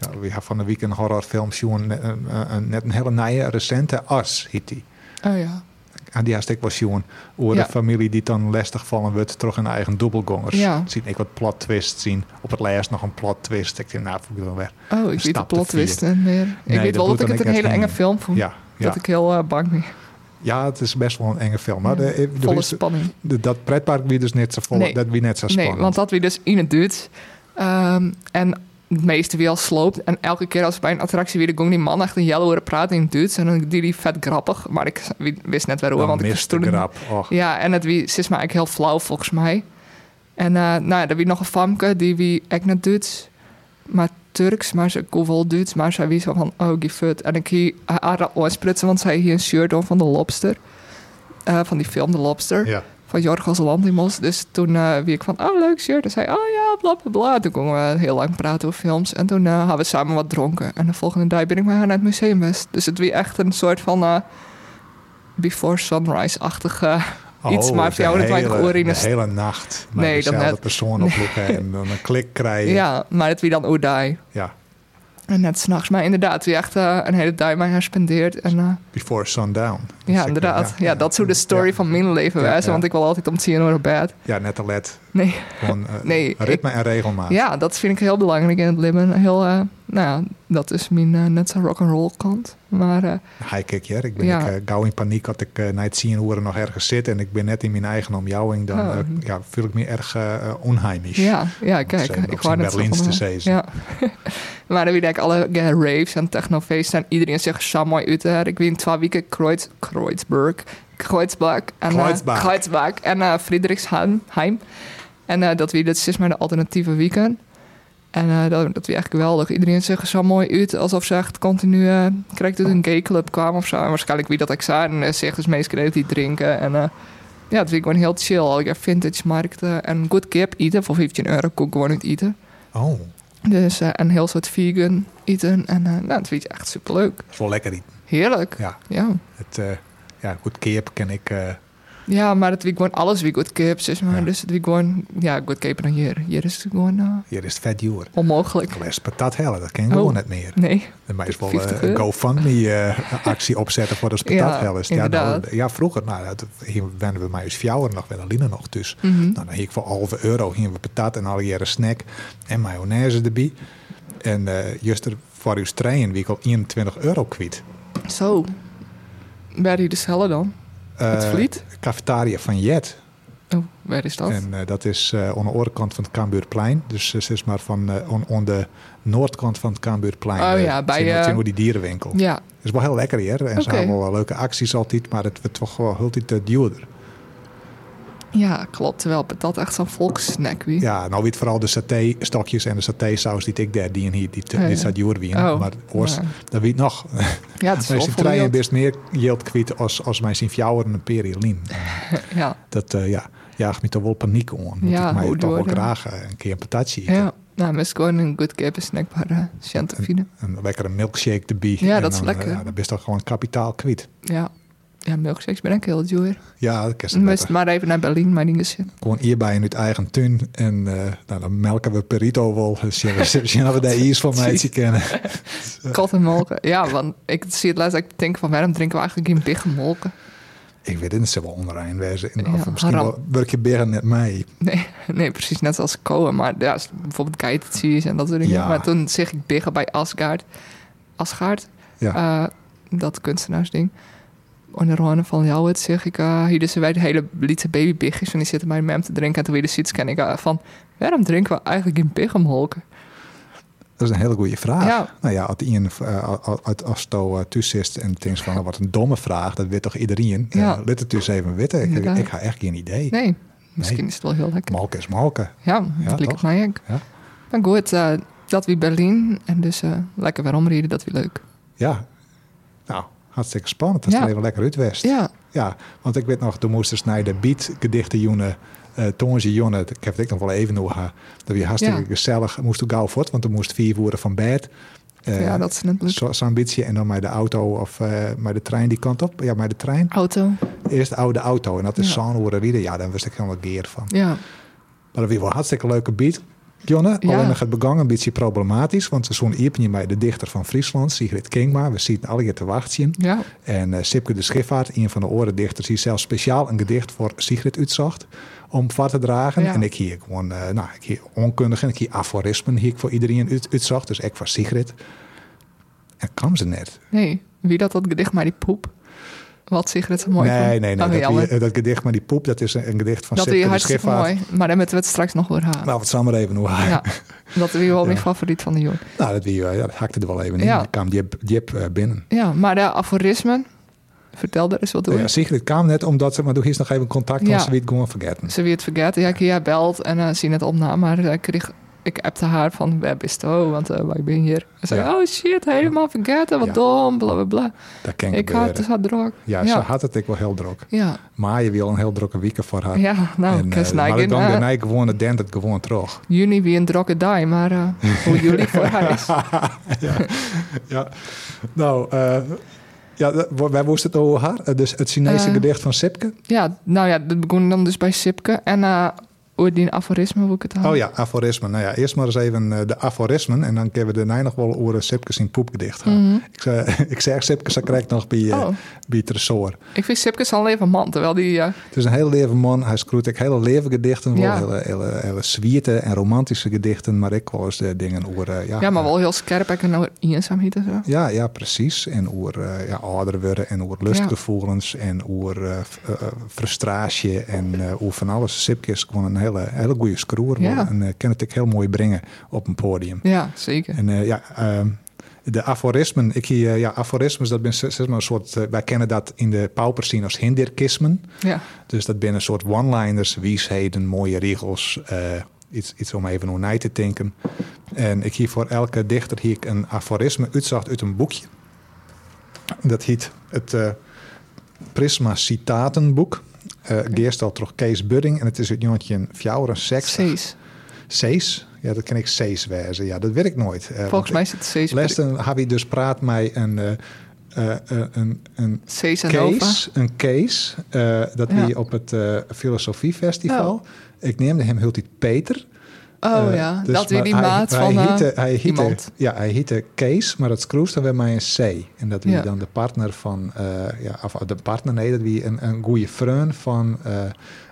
[SPEAKER 2] Ja, We hebben van de week een horrorfilm zien. eh, eh, eh, Net een hele nieuwe, recente As heet die.
[SPEAKER 4] Oh ja.
[SPEAKER 2] En die haast ik wel zien. Over
[SPEAKER 4] Ja.
[SPEAKER 2] de familie die dan lastig vallen wordt terug in eigen dubbelgongers.
[SPEAKER 4] Ja.
[SPEAKER 2] Zien ik wat plot twist zien. Op het lijst nog een plot twist. Ik denk, nou, voel ik dan weer.
[SPEAKER 4] Oh, ik
[SPEAKER 2] Een
[SPEAKER 4] weet de
[SPEAKER 2] stap te
[SPEAKER 4] plot
[SPEAKER 2] vier.
[SPEAKER 4] twist niet meer. ik
[SPEAKER 2] Nee, dat
[SPEAKER 4] weet wel dat
[SPEAKER 2] doet
[SPEAKER 4] ik
[SPEAKER 2] dan ik
[SPEAKER 4] het een
[SPEAKER 2] echt
[SPEAKER 4] hele enge
[SPEAKER 2] niet.
[SPEAKER 4] film vond.
[SPEAKER 2] Ja, ja.
[SPEAKER 4] Oh, Dat ik heel eh, bang ben.
[SPEAKER 2] ja, het is best wel een enge film. Maar de, de-
[SPEAKER 4] Volle
[SPEAKER 2] de-
[SPEAKER 4] spanning.
[SPEAKER 2] de- dat pretpark wie dus net zo vol,
[SPEAKER 4] Nee.
[SPEAKER 2] dat wie net zo spannend.
[SPEAKER 4] Nee, want dat wie dus in het Duits. Ehm, en het meeste wie al sloopt. En elke keer als bij een attractie weer ging die man echt een jelle horen praten in het Duits. En dan die die vet grappig. Maar ik wie- wist net waarom.
[SPEAKER 2] dan
[SPEAKER 4] want ik
[SPEAKER 2] mist de
[SPEAKER 4] verstond het
[SPEAKER 2] grap. Och,
[SPEAKER 4] ja, en het wie, ze is maar eigenlijk heel flauw volgens mij. En eh nou, er wie nog een famke die wie echt net Duits, maar Turks, maar ze kon wel Duits, maar zij wie zo van oh die fut. En ik hier eh, haar oorsprutsen, want zij hier een shirt om van de Lobster, Eh, van die film De Lobster
[SPEAKER 2] ja.
[SPEAKER 4] van Jorgos Lantimos. Dus toen eh wie ik van, oh leuk shirt. En zei, oh ja, bla bla bla. Toen konden we heel lang praten over films. En toen eh hadden we samen wat dronken. En de volgende dag ben ik met haar naar het museum west. Dus het was echt een soort van eh, Before Sunrise-achtige iets.
[SPEAKER 2] Oh,
[SPEAKER 4] Maar voor jou,
[SPEAKER 2] de
[SPEAKER 4] dat wij toch
[SPEAKER 2] hele-
[SPEAKER 4] oren in
[SPEAKER 2] De
[SPEAKER 4] de st-
[SPEAKER 2] hele nacht naar
[SPEAKER 4] Nee, dat
[SPEAKER 2] dezelfde
[SPEAKER 4] net.
[SPEAKER 2] persoon oploeken en dan een klik krijgen.
[SPEAKER 4] Ja, maar het wie dan Oedai.
[SPEAKER 2] Ja,
[SPEAKER 4] En net s'nachts. Maar inderdaad, wie echt eh, een hele dag met haar spendeert. En, eh,
[SPEAKER 2] Before Sundown.
[SPEAKER 4] ja, inderdaad. Ja, dat zou de story
[SPEAKER 2] ja.
[SPEAKER 4] van mijn leven
[SPEAKER 2] Ja,
[SPEAKER 4] wijzen.
[SPEAKER 2] ja.
[SPEAKER 4] Want ik wil altijd om tien uur op bed.
[SPEAKER 2] Ja, net te let.
[SPEAKER 4] Nee.
[SPEAKER 2] Gewoon eh,
[SPEAKER 4] Nee,
[SPEAKER 2] ritme en regelmaat.
[SPEAKER 4] Ja, dat vind ik heel belangrijk in het leven. Heel, eh, nou ja, dat is mijn eh, net zo rock'n'roll kant. Maar eh,
[SPEAKER 2] Hi, kijk, ja. Ik ben
[SPEAKER 4] Ja.
[SPEAKER 2] ik, eh, gauw in paniek dat ik eh na het zien horen nog ergens zit en ik ben net in mijn eigen omjouwing. Dan eh,
[SPEAKER 4] Oh.
[SPEAKER 2] ja, voel ik me erg eh eh, onheimisch.
[SPEAKER 4] ja, ja,
[SPEAKER 2] ze
[SPEAKER 4] kijk,
[SPEAKER 2] hebben
[SPEAKER 4] ik
[SPEAKER 2] ook zo'n
[SPEAKER 4] wou net zo
[SPEAKER 2] Berlijns
[SPEAKER 4] van,
[SPEAKER 2] te
[SPEAKER 4] eh,
[SPEAKER 2] zezen.
[SPEAKER 4] Ja. maar dan weet ik alle eh, raves en technofeesten en iedereen zegt zo mooi uit. hè. Ik win twee weken Kreuz, Kreuzberg, Kreuzberg en eh,
[SPEAKER 2] Kreuzberg.
[SPEAKER 4] Kreuzberg en eh, Friedrichsheim. En eh, dat weer dat is maar de alternatieve weekend. En eh, dat, dat weer echt geweldig. Iedereen zegt er zo mooi uit, alsof ze echt continu eh, krijgt
[SPEAKER 2] Oh.
[SPEAKER 4] uit een gayclub kwam of zo. En waarschijnlijk wie dat ik zei. En eh, zegt dus meestal die drinken. En eh, ja, het vind ik gewoon heel chill. Al die vintage markten en goed kip eten. Voor 15 euro kon ik gewoon uit eten.
[SPEAKER 2] Oh,
[SPEAKER 4] Dus eh, en heel soort vegan eten. En eh, nou, dat vind ik echt superleuk.
[SPEAKER 2] dat is wel lekker. eten.
[SPEAKER 4] Heerlijk.
[SPEAKER 2] Ja,
[SPEAKER 4] Ja.
[SPEAKER 2] het, eh, ja goed, keep ken ik. eh,
[SPEAKER 4] Ja, maar dat wie gewoon alles wie goed kip is. Maar
[SPEAKER 2] Ja.
[SPEAKER 4] dus dat wie gewoon, ja, goed kip dan hier. Hier is het gewoon eh,
[SPEAKER 2] hier is het vet joer.
[SPEAKER 4] onmogelijk.
[SPEAKER 2] Ik les patat hellen, dat ken ik
[SPEAKER 4] Oh.
[SPEAKER 2] gewoon niet meer.
[SPEAKER 4] Nee.
[SPEAKER 2] De meest wel eh,
[SPEAKER 4] 50
[SPEAKER 2] een
[SPEAKER 4] euro.
[SPEAKER 2] GoFundMe-actie opzetten voor de spatathellers.
[SPEAKER 4] Ja,
[SPEAKER 2] Ja, nou,
[SPEAKER 4] inderdaad.
[SPEAKER 2] ja, vroeger, nou, dat, hier werden we mij eens fjouwer nog wel Aline nog dus.
[SPEAKER 4] Mhm.
[SPEAKER 2] Nou, dan hing ik voor halve euro hingen we patat en alle jaren snack en mayonaise erbij. En eh, just er voor uw trein wie ik al 21 euro kwijt.
[SPEAKER 4] Zo. Waar die de cellen dan?
[SPEAKER 2] Eh,
[SPEAKER 4] het vliet?
[SPEAKER 2] Cafetaria van Jet.
[SPEAKER 4] Oh, waar is dat?
[SPEAKER 2] En eh, dat is eh, aan de oorkant van het Cambuurplein. Dus eh, zeg maar van, eh, aan- aan de noordkant van het Cambuurplein.
[SPEAKER 4] Oh
[SPEAKER 2] eh,
[SPEAKER 4] ja, bij,
[SPEAKER 2] zien we-
[SPEAKER 4] eh,
[SPEAKER 2] zien we die dierenwinkel.
[SPEAKER 4] Ja,
[SPEAKER 2] Het is wel heel lekker hier. En ze
[SPEAKER 4] Oké.
[SPEAKER 2] hebben wel leuke acties altijd. Maar het wordt toch wel altijd eh, duurder.
[SPEAKER 4] ja, klopt. Terwijl dat echt zo'n volkssnack wie.
[SPEAKER 2] Ja, nou weet vooral de saté-stokjes en de saté-saus die ik daar dien hier. Die,
[SPEAKER 4] Oh ja.
[SPEAKER 2] die staat duur wien.
[SPEAKER 4] Oh,
[SPEAKER 2] maar oors,
[SPEAKER 4] ja.
[SPEAKER 2] dat weet nog.
[SPEAKER 4] Ja, het is
[SPEAKER 2] Dan is
[SPEAKER 4] wel
[SPEAKER 2] die trein
[SPEAKER 4] volgend.
[SPEAKER 2] best meer geld kwijt als, als mijn zijn fjouwer en een periolien.
[SPEAKER 4] Ja,
[SPEAKER 2] Dat eh, ja, jaagt me toch wel paniek om. Want
[SPEAKER 4] Ja,
[SPEAKER 2] ik mij
[SPEAKER 4] hoe
[SPEAKER 2] toch wel
[SPEAKER 4] door, hè?
[SPEAKER 2] graag eh, een keer een patatje eten.
[SPEAKER 4] ja. Nou, maar het is gewoon een good keeper snack maar uh, Chantafine.
[SPEAKER 2] Een lekkere milkshake erbij.
[SPEAKER 4] Ja,
[SPEAKER 2] En
[SPEAKER 4] dat is
[SPEAKER 2] dan,
[SPEAKER 4] lekker.
[SPEAKER 2] eh, Ja, dan ben je toch gewoon kapitaal kwijt.
[SPEAKER 4] Ja. Ja, milkshakes ben ik heel duur.
[SPEAKER 2] Ja, dat is
[SPEAKER 4] Dan moest maar even naar Berlijn, maar niet gezien.
[SPEAKER 2] Gewoon hierbij in het eigen tuin. En eh, nou, dan melken we Perito wel. Dus ja, we zien of we daar iets van meisje kennen.
[SPEAKER 4] Kat en molken. Ja, want ik zie het laatst dat ik denk van waarom drinken we eigenlijk geen dichte molken?
[SPEAKER 2] Ik weet het niet, ze wel onderaan wezen. En
[SPEAKER 4] Ja,
[SPEAKER 2] of misschien
[SPEAKER 4] haram.
[SPEAKER 2] wel werk je beren net mij.
[SPEAKER 4] Nee, nee, precies net als kolen. Maar ja, als bijvoorbeeld kitesees en dat soort dingen.
[SPEAKER 2] Ja.
[SPEAKER 4] Maar toen zeg ik biggen bij Asgard. Asgard,
[SPEAKER 2] Ja.
[SPEAKER 4] eh, dat kunstenaarsding. Onder Ronne van Jouwet zeg ik, eh, hier dus wij de hele liete babybigjes. En die zitten bij mem te drinken. En toen weer de seats ken ik eh, van, waarom drinken we eigenlijk in biggemholken?
[SPEAKER 2] Dat is een hele goede vraag.
[SPEAKER 4] Ja.
[SPEAKER 2] Nou ja, als, iemand, eh, als- als- als je eh, thuis zit en denkt van nou, wat een domme vraag, dat weet toch iedereen?
[SPEAKER 4] Ja.
[SPEAKER 2] Eh, Let het dus even weten. Ik,
[SPEAKER 4] Inderdaad.
[SPEAKER 2] ik ga echt geen idee.
[SPEAKER 4] Nee, misschien is het wel heel lekker.
[SPEAKER 2] Malken is malken.
[SPEAKER 4] Ja,
[SPEAKER 2] Ja,
[SPEAKER 4] dat
[SPEAKER 2] toch?
[SPEAKER 4] lijkt mij ook.
[SPEAKER 2] Ja.
[SPEAKER 4] Maar goed, eh, dat we Berlijn. En dus eh, lekker weer omrijden, dat we leuk.
[SPEAKER 2] Ja. Nou, hartstikke spannend. Dat is
[SPEAKER 4] Ja.
[SPEAKER 2] er even lekker uit West.
[SPEAKER 4] Ja,
[SPEAKER 2] Ja, want ik weet nog, toen moesten ze naar de beat gedichten joenen. eh Tongen joenen, ik heb het ook nog wel even over. gehad. Dat was hartstikke
[SPEAKER 4] Ja.
[SPEAKER 2] gezellig. Moest ook gauw voort, want er moest vier woorden van bed. Eh,
[SPEAKER 4] ja dat is net leuk.
[SPEAKER 2] zo- Zo'n beetje. En dan met de auto of eh met de trein die kant op. Ja, met de trein.
[SPEAKER 4] Auto,
[SPEAKER 2] Eerst de oude auto. En dat is
[SPEAKER 4] Ja.
[SPEAKER 2] zo'n horen rieden. Ja, daar wist ik helemaal geer van.
[SPEAKER 4] ja.
[SPEAKER 2] Maar dat was wel een hartstikke leuke beat. Jonne,
[SPEAKER 4] Ja.
[SPEAKER 2] alleen nog het begang een beetje problematisch. Want zo'n Iepenje bij de dichter van Friesland, Sigrid Kingma. We zitten alle keer te wachten.
[SPEAKER 4] Ja,
[SPEAKER 2] En eh, Sipke de Schiffaard, een van de orendichters, die zelfs speciaal een gedicht voor Sigrid uitzocht om voor te dragen.
[SPEAKER 4] Ja.
[SPEAKER 2] En ik hier gewoon, eh, nou, ik hier onkundige, ik hier aforismen hier voor iedereen uit, uitzocht. Dus ik voor Sigrid. En kwam ze net.
[SPEAKER 4] nee. Wie dat dat gedicht maar die poep? Wat Sigrid zo mooi
[SPEAKER 2] nee,
[SPEAKER 4] vond.
[SPEAKER 2] nee, nee.
[SPEAKER 4] Oh,
[SPEAKER 2] dat,
[SPEAKER 4] jammer.
[SPEAKER 2] die- eh, dat gedicht met die poep, dat is een, een gedicht van
[SPEAKER 4] dat
[SPEAKER 2] Sipke
[SPEAKER 4] is
[SPEAKER 2] de
[SPEAKER 4] hartstikke
[SPEAKER 2] Schiffaard.
[SPEAKER 4] mooi. Maar daar moeten we het straks nog over halen.
[SPEAKER 2] Nou, wat zal maar even hoe haar.
[SPEAKER 4] Ja, dat is wel
[SPEAKER 2] Ja.
[SPEAKER 4] mijn favoriet van de jongen.
[SPEAKER 2] Nou, dat, die, eh, ja, dat hakte er wel even in.
[SPEAKER 4] Ja.
[SPEAKER 2] Dan kwam Jip, Jip eh, binnen.
[SPEAKER 4] Ja, maar de aforismen. Vertel daar eens wat
[SPEAKER 2] Ja,
[SPEAKER 4] over.
[SPEAKER 2] Sigrid kwam net omdat ze, maar doe hier eens nog even contact, want
[SPEAKER 4] Ja.
[SPEAKER 2] ze weet gewoon vergeten.
[SPEAKER 4] Ze weer het vergeten. Ja, Kia belt en eh zien het opname. Maar eh, ik kreeg, ik appte haar van, waar bist je? Want eh, ik ben hier. En zei,
[SPEAKER 2] Ja.
[SPEAKER 4] oh shit, helemaal vergeten. Wat
[SPEAKER 2] Ja.
[SPEAKER 4] dom, bla bla bla.
[SPEAKER 2] Dat ken
[SPEAKER 4] Ik had het zo druk.
[SPEAKER 2] Ja, ze
[SPEAKER 4] ja.
[SPEAKER 2] had het ik wel heel druk.
[SPEAKER 4] Ja,
[SPEAKER 2] Maar je wil een heel drukke weekend voor haar.
[SPEAKER 4] ja, nou,
[SPEAKER 2] Ah. en,
[SPEAKER 4] ik is
[SPEAKER 2] eh, maar ik
[SPEAKER 4] in
[SPEAKER 2] dan ben ik gewoon het dent het gewoon terug.
[SPEAKER 4] juni weer een drokke dag, maar eh, hoe jullie voor haar is.
[SPEAKER 2] Ja. Nou, eh, ja, dat- wa- wij moesten het over haar. Eh, Dus het Chinese
[SPEAKER 4] Eh.
[SPEAKER 2] gedicht van Sipke.
[SPEAKER 4] Ja, nou ja, dat begon dan dus bij Sipke. En eh over die aforisme hoe ik het had.
[SPEAKER 2] Oh ja, aforismen. Nou ja, eerst maar eens even eh, de aforismen. En dan kunnen we daarna nog wel over Sipke zijn poepgedicht gaan. ik, zeg, ik zeg Sipke, ze krijgt nog bij, eh,
[SPEAKER 4] Mhm. Oh.
[SPEAKER 2] bij het ressort.
[SPEAKER 4] Ik vind Sipke al even man, terwijl die... eh,
[SPEAKER 2] Het is een heel leven man. Hij schroeit ik hele leven gedichten. Wel
[SPEAKER 4] Ja.
[SPEAKER 2] hele, hele, hele zwierte en romantische gedichten. Maar ik was de dingen over... eh, ja,
[SPEAKER 4] ja, maar wel heel scherp en nou eenzaamheid en zo.
[SPEAKER 2] Ja, ja, precies. En over eh, ja, ouder worden en over lustgevoelens en over eh, f- eh, frustratie en eh over van alles. Sipke is gewoon een hele, hele goede scroer
[SPEAKER 4] Ja.
[SPEAKER 2] en eh, kan het ook heel mooi brengen op een podium.
[SPEAKER 4] Ja, zeker.
[SPEAKER 2] En eh, ja, ehm, de aforismen, ik hier, eh, ja, aforismes, dat ben zeg maar een soort, eh, wij kennen dat in de pauperscene als hinderkismen.
[SPEAKER 4] Ja,
[SPEAKER 2] Dus dat binnen een soort one-liners, wiesheden, mooie regels. eh, iets, iets om even hoe na te denken. En ik hier voor elke dichter hier een aforisme uitzag uit een boekje. Dat heet het eh, Prisma Citatenboek. Eh Geerst al terug Kees Budding. En het is het jongetje Fjouwer en Seks.
[SPEAKER 4] Sees.
[SPEAKER 2] Sees? Ja, dat ken ik Sees wijzen. Ja, dat weet ik nooit. Eh, want
[SPEAKER 4] Volgens mij zit Sees.
[SPEAKER 2] ik- Lesten heb ik dus praat mij een, eh, eh, eh, een, een
[SPEAKER 4] Sees en Nova.
[SPEAKER 2] case, een case, eh, dat
[SPEAKER 4] Ja.
[SPEAKER 2] hij op het eh, filosofiefestival. Ik neemde hem heel tijd Peter.
[SPEAKER 4] Oh
[SPEAKER 2] Eh,
[SPEAKER 4] ja,
[SPEAKER 2] dus-
[SPEAKER 4] dat weer
[SPEAKER 2] maar
[SPEAKER 4] die
[SPEAKER 2] hij-
[SPEAKER 4] maat
[SPEAKER 2] hij
[SPEAKER 4] van
[SPEAKER 2] hiette-
[SPEAKER 4] eh,
[SPEAKER 2] hij hiette-
[SPEAKER 4] iemand.
[SPEAKER 2] Ja, hij heette Kees, maar dat schroefde dan weer mij een C. En dat wie
[SPEAKER 4] Ja.
[SPEAKER 2] dan de partner van, eh, ja, of de partner, nee, dat wie een, een goede vriend van eh,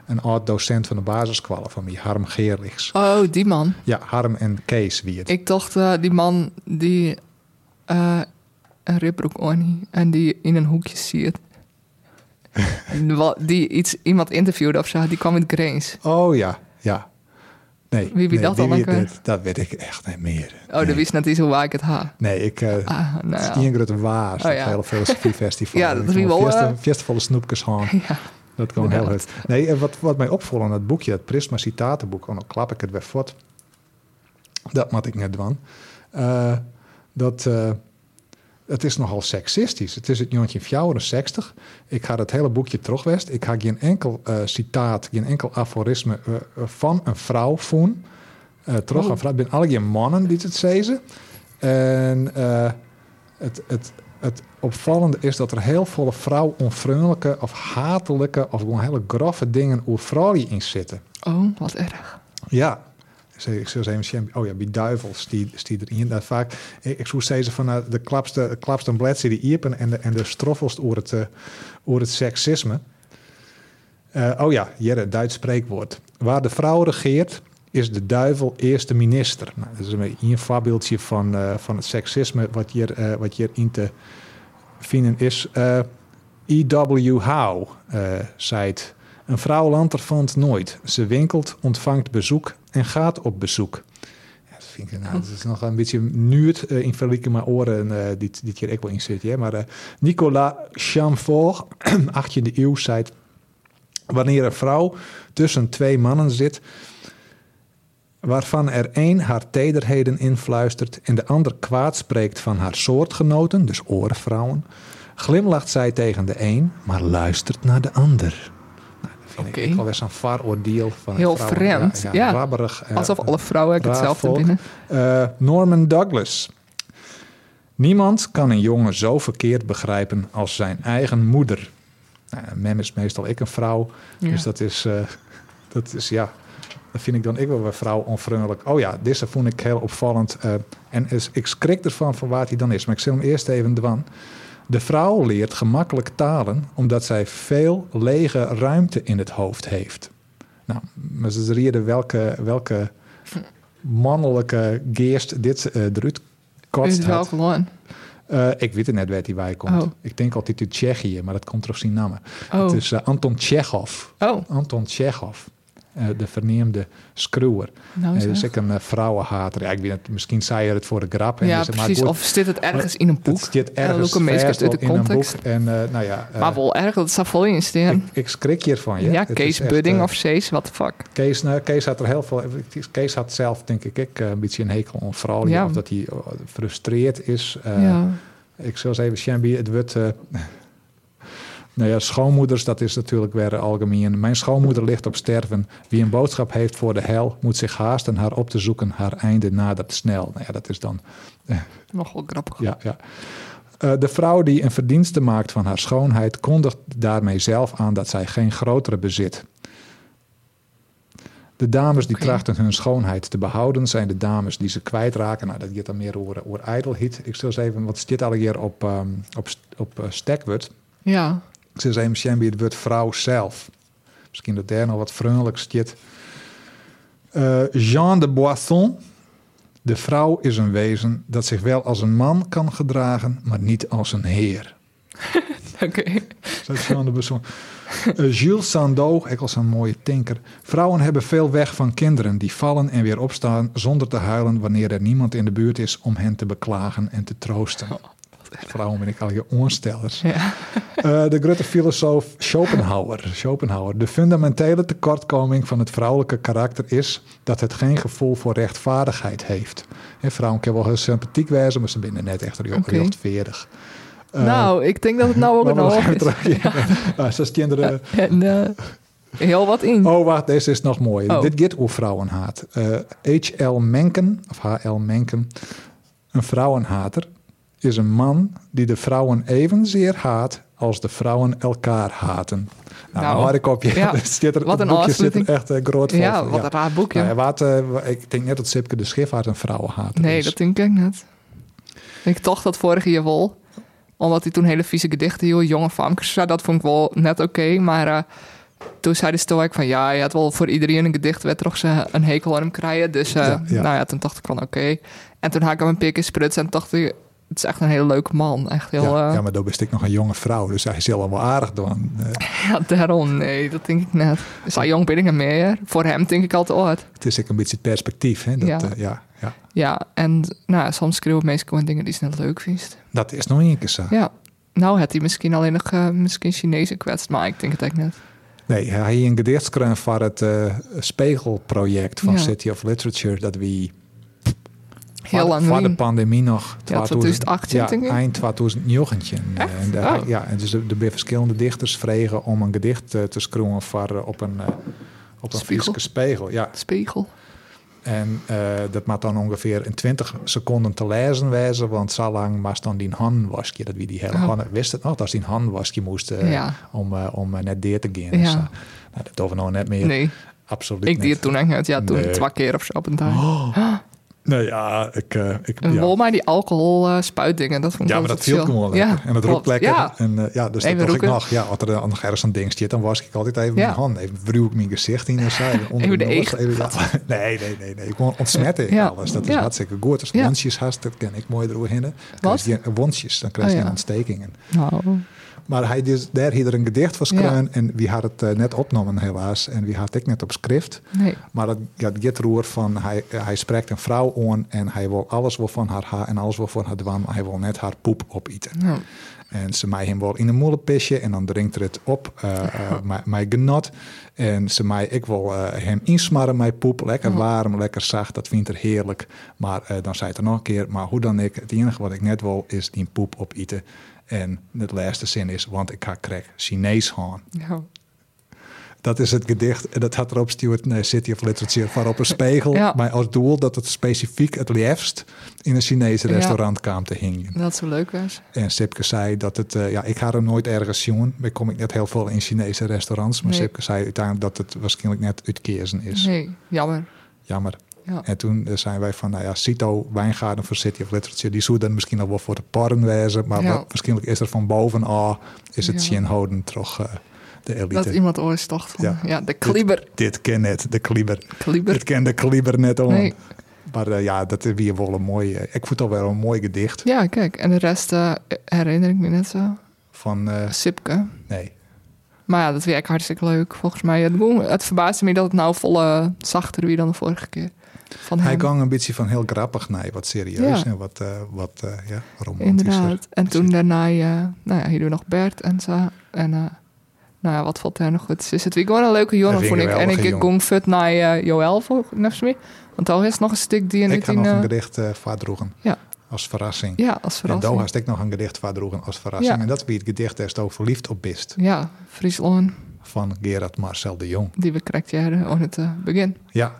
[SPEAKER 2] een oud docent van de basiskwallen van mij, Harm Geerlichs.
[SPEAKER 4] Oh, die man.
[SPEAKER 2] Ja, Harm en Kees wie het.
[SPEAKER 4] Ik dacht, eh, die man die eh, een ribbroek aan heeft en die in een hoekje ziet. Wat- Die iets, iemand interviewde of zo, die kwam met Grains.
[SPEAKER 2] Oh ja, ja. Nee,
[SPEAKER 4] Wie wie
[SPEAKER 2] nee,
[SPEAKER 4] dat dan
[SPEAKER 2] wie
[SPEAKER 4] ook weer?
[SPEAKER 2] dit- Dat weet ik echt niet meer.
[SPEAKER 4] Oh, dat
[SPEAKER 2] nee.
[SPEAKER 4] wist net iets hoe waar ik het ha.
[SPEAKER 2] Nee, ik... eh
[SPEAKER 4] Ah, nou
[SPEAKER 2] het
[SPEAKER 4] ja.
[SPEAKER 2] is Ingrid Waas,
[SPEAKER 4] Oh,
[SPEAKER 2] dat
[SPEAKER 4] ja.
[SPEAKER 2] hele filosofiefestival.
[SPEAKER 4] Ja, dat
[SPEAKER 2] Ik vond
[SPEAKER 4] wie
[SPEAKER 2] het
[SPEAKER 4] wel,
[SPEAKER 2] Fiesta,
[SPEAKER 4] eh,
[SPEAKER 2] fiestavolle snoepjes gewoon.
[SPEAKER 4] Ja.
[SPEAKER 2] Dat kwam heel
[SPEAKER 4] Inderdaad.
[SPEAKER 2] hard. Nee, en wat, wat mij opvalt aan dat boekje, dat Prisma Citatenboek, en dan klap ik het weer voort. Dat mat ik net dwan. Eh, dat eh, het is nogal seksistisch. Het is het jongetje 64. Ik ga dat hele boekje terugwest. Ik ga geen enkel eh, citaat, geen enkel aforisme eh, eh, van een vrouw voelen. Eh terug
[SPEAKER 4] Oh.
[SPEAKER 2] een vrouw. Ik ben alle geen mannen die het zezen. En eh, het, het, het opvallende is dat er heel veel vrouw-onvriendelijke of hatelijke of gewoon hele grove dingen over vrouwen in zitten.
[SPEAKER 4] Oh, wat erg.
[SPEAKER 2] Ja. Ik zei- Ik zou zeggen, oh ja, bij duivels, die, die erin. Dat vaak, ik, ik zoek steeds van eh, de klapste, de klapste bladse die iepen en de, en de stroffelst over het, eh, over het seksisme. Eh, oh ja, hier het Duits spreekwoord. Waar de vrouw regeert, is de duivel eerste minister. Nou, dat is een beetje een voorbeeldje van, eh, van het seksisme wat hier, eh, wat hier in te vinden is. Eh, E.W. Howe eh, zei het. Een vrouw lanterfant nooit. Ze winkelt, ontvangt bezoek en gaat op bezoek. Ja, dat vind ik, nou, dat is nog een beetje nuurt eh, in verlieke maar oren eh, die, die keer ik wel in zit. Hè? Maar eh, Nicolas Chamfort, 18e eeuw, zei het, wanneer een vrouw tussen twee mannen zit, waarvan er één haar tederheden influistert en de ander kwaad spreekt van haar soortgenoten, dus orenvrouwen, glimlacht zij tegen de een, maar luistert naar de ander. Nou, dat vind
[SPEAKER 4] Oké.
[SPEAKER 2] ik ook alweer zo'n varoordeel van
[SPEAKER 4] Heel
[SPEAKER 2] vrouwen.
[SPEAKER 4] vreemd, ja.
[SPEAKER 2] Rabberig, eh,
[SPEAKER 4] Alsof alle vrouwen
[SPEAKER 2] raar
[SPEAKER 4] hetzelfde
[SPEAKER 2] volk.
[SPEAKER 4] binnen.
[SPEAKER 2] eh, Norman Douglas. Niemand kan een jongen zo verkeerd begrijpen als zijn eigen moeder. Nou, mem is meestal ik een vrouw,
[SPEAKER 4] Ja.
[SPEAKER 2] dus dat is, eh, dat is ja, dat vind ik dan ik wel weer vrouw onvriendelijk. Oh ja, deze vond ik heel opvallend eh, en is, ik schrik ervan van waar hij dan is, maar ik zal hem eerst even dwan. De vrouw leert gemakkelijk talen omdat zij veel lege ruimte in het hoofd heeft. Nou, maar ze rieden welke, welke mannelijke geest dit eh eruit
[SPEAKER 4] Is
[SPEAKER 2] kotst
[SPEAKER 4] het wel
[SPEAKER 2] had.
[SPEAKER 4] gewoon.
[SPEAKER 2] Eh, ik weet het net waar die bij komt.
[SPEAKER 4] Oh.
[SPEAKER 2] Ik denk altijd uit Tsjechië, maar dat komt toch zijn naam.
[SPEAKER 4] Oh.
[SPEAKER 2] Het is eh, Anton Tsjechov.
[SPEAKER 4] oh,
[SPEAKER 2] Anton Tsjechov, eh, de verneemde screwer.
[SPEAKER 4] nou
[SPEAKER 2] Hij
[SPEAKER 4] zo.
[SPEAKER 2] is ook een eh, vrouwenhater. Ja, ik weet het, misschien zei je het voor de grap. en
[SPEAKER 4] ja,
[SPEAKER 2] dus- maar
[SPEAKER 4] precies.
[SPEAKER 2] goed,
[SPEAKER 4] Of zit het ergens in een boek?
[SPEAKER 2] Het zit
[SPEAKER 4] En
[SPEAKER 2] ergens
[SPEAKER 4] ook een mens
[SPEAKER 2] vast
[SPEAKER 4] uit de
[SPEAKER 2] wel in een boek.
[SPEAKER 4] context.
[SPEAKER 2] En eh, nou ja, eh,
[SPEAKER 4] maar wel erg, dat staat vol in
[SPEAKER 2] ik,
[SPEAKER 4] steen.
[SPEAKER 2] ik schrik hiervan.
[SPEAKER 4] Ja,
[SPEAKER 2] Het is
[SPEAKER 4] Kees
[SPEAKER 2] echt,
[SPEAKER 4] Budding
[SPEAKER 2] eh,
[SPEAKER 4] of Cees, what the fuck.
[SPEAKER 2] Kees, nou, Kees had er heel veel. Kees had zelf, denk ik, ik een beetje een hekel aan vrouwen.
[SPEAKER 4] Ja.
[SPEAKER 2] Of dat hij eh, frustreerd is. Eh,
[SPEAKER 4] ja.
[SPEAKER 2] Ik zou eens even, Shambi, het wordt. eh, nou ja, schoonmoeders, dat is natuurlijk weer algemeen. Mijn schoonmoeder ligt op sterven. Wie een boodschap heeft voor de hel, moet zich haasten haar op te zoeken. Haar einde nadert snel. Nou ja, dat is dan
[SPEAKER 4] Nogal grappig.
[SPEAKER 2] ja, ja. Eh, de vrouw die een verdienste maakt van haar schoonheid, kondigt daarmee zelf aan dat zij geen grotere bezit. De dames die
[SPEAKER 4] Oké.
[SPEAKER 2] trachten hun schoonheid te behouden, zijn de dames die ze kwijtraken. Nou, dat gaat dan meer over, over ijdelheid. Ik zal eens even, want het zit al hier op, ehm op, st- op eh, stekwoord.
[SPEAKER 4] Ja.
[SPEAKER 2] Ik zou zeggen, misschien bij het woord vrouw zelf. Misschien dat daar nog wat vriendelijk zit. Eh, Jean de Boisson. De vrouw is een wezen dat zich wel als een man kan gedragen, maar niet als een heer.
[SPEAKER 4] Oké.
[SPEAKER 2] Eh, Dat is de persoon. Eh, Jules Sandeau, ik was een mooie tinker. Vrouwen hebben veel weg van kinderen die vallen en weer opstaan zonder te huilen wanneer er niemand in de buurt is om hen te beklagen en te troosten. Vrouwen ben ik al je onstellers.
[SPEAKER 4] Oh. Ja.
[SPEAKER 2] Eh, de grote filosoof Schopenhauer. Schopenhauer. De fundamentele tekortkoming van het vrouwelijke karakter is dat het geen gevoel voor rechtvaardigheid heeft. Hè, vrouwen kunnen wel heel sympathiek wezen, maar ze binnen net echt heel
[SPEAKER 4] Oké.
[SPEAKER 2] rechtvaardig. Eh,
[SPEAKER 4] nou, ik denk dat het nou ook
[SPEAKER 2] laten
[SPEAKER 4] een
[SPEAKER 2] we nog
[SPEAKER 4] hoog
[SPEAKER 2] even
[SPEAKER 4] is.
[SPEAKER 2] terug. Ja. Nou, Ze kinderen.
[SPEAKER 4] En eh, heel wat in.
[SPEAKER 2] Oh, wacht, deze is nog mooi.
[SPEAKER 4] Oh.
[SPEAKER 2] Dit gaat over vrouwenhaat. Eh, H.L. Menken, of H.L. Menken, een vrouwenhater, is een man die de vrouwen evenzeer haat als de vrouwen elkaar haten. Nou,
[SPEAKER 4] Nou,
[SPEAKER 2] nou hard kopje.
[SPEAKER 4] ja.
[SPEAKER 2] Er zit er,
[SPEAKER 4] Wat
[SPEAKER 2] het
[SPEAKER 4] een
[SPEAKER 2] boekje zit er
[SPEAKER 4] afsluiting.
[SPEAKER 2] echt eh, groot vol
[SPEAKER 4] ja,
[SPEAKER 2] van,
[SPEAKER 4] wat een raar boekje.
[SPEAKER 2] Nou, wat, eh, ik denk net dat Sipke de Schifvaart een vrouwenhater
[SPEAKER 4] nee,
[SPEAKER 2] is.
[SPEAKER 4] dat denk ik net. Ik dacht dat vorige jaar wel. Omdat hij toen hele vieze gedichten, heel jonge famkes zei. Dat vond ik wel net oké. maar eh, toen zei de stoik van... Ja, je had wel voor iedereen een gedicht. Werd toch ze een hekel aan hem krijgen. Dus eh,
[SPEAKER 2] Ja, ja.
[SPEAKER 4] nou ja, toen dacht ik van oké. En toen had ik hem een pik in spruts. En dacht ik... het is echt een hele leuke man. Echt heel,
[SPEAKER 2] ja,
[SPEAKER 4] eh,
[SPEAKER 2] ja, maar dan ben ik nog een jonge vrouw, dus hij is heel wel aardig dan. Eh,
[SPEAKER 4] Ja, daarom, nee, dat denk ik net. Zo jong ben ik hem meer. Voor hem denk ik altijd, oh, het-
[SPEAKER 2] het is ook een beetje het perspectief. Hè? Dat,
[SPEAKER 4] Ja.
[SPEAKER 2] eh, ja, ja.
[SPEAKER 4] ja. En nou, soms schreeuwen mensen gewoon dingen die ze net leuk vindt.
[SPEAKER 2] dat is nog een keer zo.
[SPEAKER 4] Ja, nou had hij misschien alleen nog eh, misschien Chinezen kwetst, maar ik denk het eigenlijk net.
[SPEAKER 2] Nee, hij had een gedichtskruim voor het eh, Spegelproject van
[SPEAKER 4] Ja.
[SPEAKER 2] City of Literature. Dat we
[SPEAKER 4] Heel
[SPEAKER 2] voor-
[SPEAKER 4] lang
[SPEAKER 2] voor de
[SPEAKER 4] geleden.
[SPEAKER 2] pandemie nog.
[SPEAKER 4] 2018
[SPEAKER 2] ja,
[SPEAKER 4] denk ik.
[SPEAKER 2] eind 2019. En daar-
[SPEAKER 4] Oh.
[SPEAKER 2] Ja, en dus er er zijn verschillende dichters vregen om een gedicht eh, te schroeven voor, eh, op een, eh, op een
[SPEAKER 4] Spiegel.
[SPEAKER 2] fysieke spiegel. Ja.
[SPEAKER 4] Spiegel.
[SPEAKER 2] En eh, dat maakt dan ongeveer in 20 seconden te lezen wijzen, want zo lang was dan die hand wasje. Dat wie die hele
[SPEAKER 4] Oh.
[SPEAKER 2] hand wist het nog, dat die hand wasje moest eh,
[SPEAKER 4] Ja.
[SPEAKER 2] om, eh, om eh, net deer te gaan.
[SPEAKER 4] Ja.
[SPEAKER 2] Dus, eh, nou, dat hoeven we nou net meer.
[SPEAKER 4] Nee,
[SPEAKER 2] Absoluut
[SPEAKER 4] ik deed
[SPEAKER 2] niet.
[SPEAKER 4] het toen echt net. Ja, toen
[SPEAKER 2] Nee.
[SPEAKER 4] twee keer of zo op een dag.
[SPEAKER 2] Nou ja, ik... eh, ik
[SPEAKER 4] En
[SPEAKER 2] ja.
[SPEAKER 4] Wol maar die alcohol eh, spuitdingen, dat vond ik
[SPEAKER 2] ja, maar dat
[SPEAKER 4] altijd
[SPEAKER 2] viel
[SPEAKER 4] chill.
[SPEAKER 2] gewoon lekker.
[SPEAKER 4] Ja,
[SPEAKER 2] en dat
[SPEAKER 4] klopt.
[SPEAKER 2] roept lekker.
[SPEAKER 4] Ja,
[SPEAKER 2] En, eh, ja, dus
[SPEAKER 4] Even
[SPEAKER 2] dat dacht ik
[SPEAKER 4] roepen.
[SPEAKER 2] nog. Ja, als er dan nog ergens een ding zit, dan was ik altijd even
[SPEAKER 4] Ja.
[SPEAKER 2] mijn hand. Even wruw ik mijn gezicht in en zo. Even, onder
[SPEAKER 4] Even de
[SPEAKER 2] neus,
[SPEAKER 4] eeg.
[SPEAKER 2] ja. Nee, nee, nee. nee. Gewoon ontsmetten ik
[SPEAKER 4] Ja.
[SPEAKER 2] alles. Dat is
[SPEAKER 4] Ja.
[SPEAKER 2] hartstikke goed. Als je
[SPEAKER 4] Ja.
[SPEAKER 2] wondjes hast, dat ken ik mooi erover hinnen.
[SPEAKER 4] Wat?
[SPEAKER 2] Wondjes, dan krijg je
[SPEAKER 4] Oh,
[SPEAKER 2] een
[SPEAKER 4] ja.
[SPEAKER 2] ontstekingen.
[SPEAKER 4] nou,
[SPEAKER 2] Maar hij dus, daar had er een gedicht van
[SPEAKER 4] Ja.
[SPEAKER 2] schreven. En wie had het eh, net opgenomen helaas. En wie had ik net op schrift.
[SPEAKER 4] nee.
[SPEAKER 2] Maar dat, ja, het gaat roer van hij, hij spreekt een vrouw aan en hij wil alles wel van haar haar en alles wel van haar dwan, maar hij wil net haar poep opeten.
[SPEAKER 4] Nou,
[SPEAKER 2] En ze mij hem wel in een moelenpisje en dan drinkt er het op, eh eh, mijn- mijn genot. En ze mij, ik wil eh, hem insmarren, mijn poep, lekker warm, lekker zacht, dat vindt er heerlijk. Maar eh, dan zei het er nog een keer, maar hoe dan ik, het enige wat ik net wil is die poep opeten. En het laatste zin is, want ik ga krijg Chinees gaan.
[SPEAKER 4] nou.
[SPEAKER 2] Dat is het gedicht. En dat had erop Stuart eh, City of Literature voor op een spiegel.
[SPEAKER 4] Ja.
[SPEAKER 2] Maar als doel dat het specifiek het liefst in een Chinese
[SPEAKER 4] Ja.
[SPEAKER 2] restaurant kwam te hingen.
[SPEAKER 4] dat zo leuk was.
[SPEAKER 2] En Sipke zei dat het... eh, ja, ik ga er nooit ergens zien. Maar kom ik net heel veel in Chinese restaurants. Maar
[SPEAKER 4] Nee.
[SPEAKER 2] Sipke zei uiteindelijk dat het waarschijnlijk net uitkeersen is.
[SPEAKER 4] Nee, jammer.
[SPEAKER 2] Jammer.
[SPEAKER 4] Ja.
[SPEAKER 2] En toen eh, zijn wij van, nou ja, Cito, Wijngaarden voor City of Literature... die zou dan misschien nog wel voor de porn wezen. Maar
[SPEAKER 4] Ja.
[SPEAKER 2] wat, waarschijnlijk is er van bovenaf... is het
[SPEAKER 4] Ja.
[SPEAKER 2] Shinhoden toch eh, de elite.
[SPEAKER 4] Dat iemand ooit dacht van,
[SPEAKER 2] Ja.
[SPEAKER 4] ja, de kliber.
[SPEAKER 2] Dit ken het, de kliber.
[SPEAKER 4] Kliber.
[SPEAKER 2] Het kende Kaliber net om.
[SPEAKER 4] Nee.
[SPEAKER 2] Maar eh, ja, dat is weer wel een mooi. eh, ik vond het al wel een mooi gedicht
[SPEAKER 4] Ja, kijk. En de rest eh, herinner ik me net zo.
[SPEAKER 2] van. eh,
[SPEAKER 4] Sipke.
[SPEAKER 2] nee.
[SPEAKER 4] Maar ja, dat werkt hartstikke leuk. Volgens mij, het, boem- het verbaasde me dat het nou volle zachter wie dan de vorige keer. Van
[SPEAKER 2] Hij
[SPEAKER 4] hem.
[SPEAKER 2] ging een beetje van heel grappig naar wat serieus
[SPEAKER 4] Ja.
[SPEAKER 2] en wat, eh, wat eh, ja, romantischer.
[SPEAKER 4] Inderdaad. En toen daarna, eh, nou ja, hier doen we nog Bert en zo. En eh, nou ja, wat valt daar nog goed? Dus het weer gewoon een leuke jongen,
[SPEAKER 2] Hij
[SPEAKER 4] vond ik.
[SPEAKER 2] vind
[SPEAKER 4] En
[SPEAKER 2] een
[SPEAKER 4] ik
[SPEAKER 2] geweldige
[SPEAKER 4] ging vet naar eh, Joël, volgens mij. Want al is nog een stuk die in
[SPEAKER 2] Ik
[SPEAKER 4] het
[SPEAKER 2] ga
[SPEAKER 4] in...
[SPEAKER 2] nog een
[SPEAKER 4] eh,
[SPEAKER 2] gedicht eh vaardroegen
[SPEAKER 4] Ja.
[SPEAKER 2] als verrassing.
[SPEAKER 4] Ja, als
[SPEAKER 2] En daar
[SPEAKER 4] verrassing.
[SPEAKER 2] had ik nog een gedicht vaardroegen als verrassing.
[SPEAKER 4] Ja.
[SPEAKER 2] En dat is wie het gedicht is over verliefd op bist
[SPEAKER 4] Ja, Friesland,
[SPEAKER 2] van Gerard Marcel de Jong.
[SPEAKER 4] die we krijgt jaren aan het eh, begin.
[SPEAKER 2] Ja.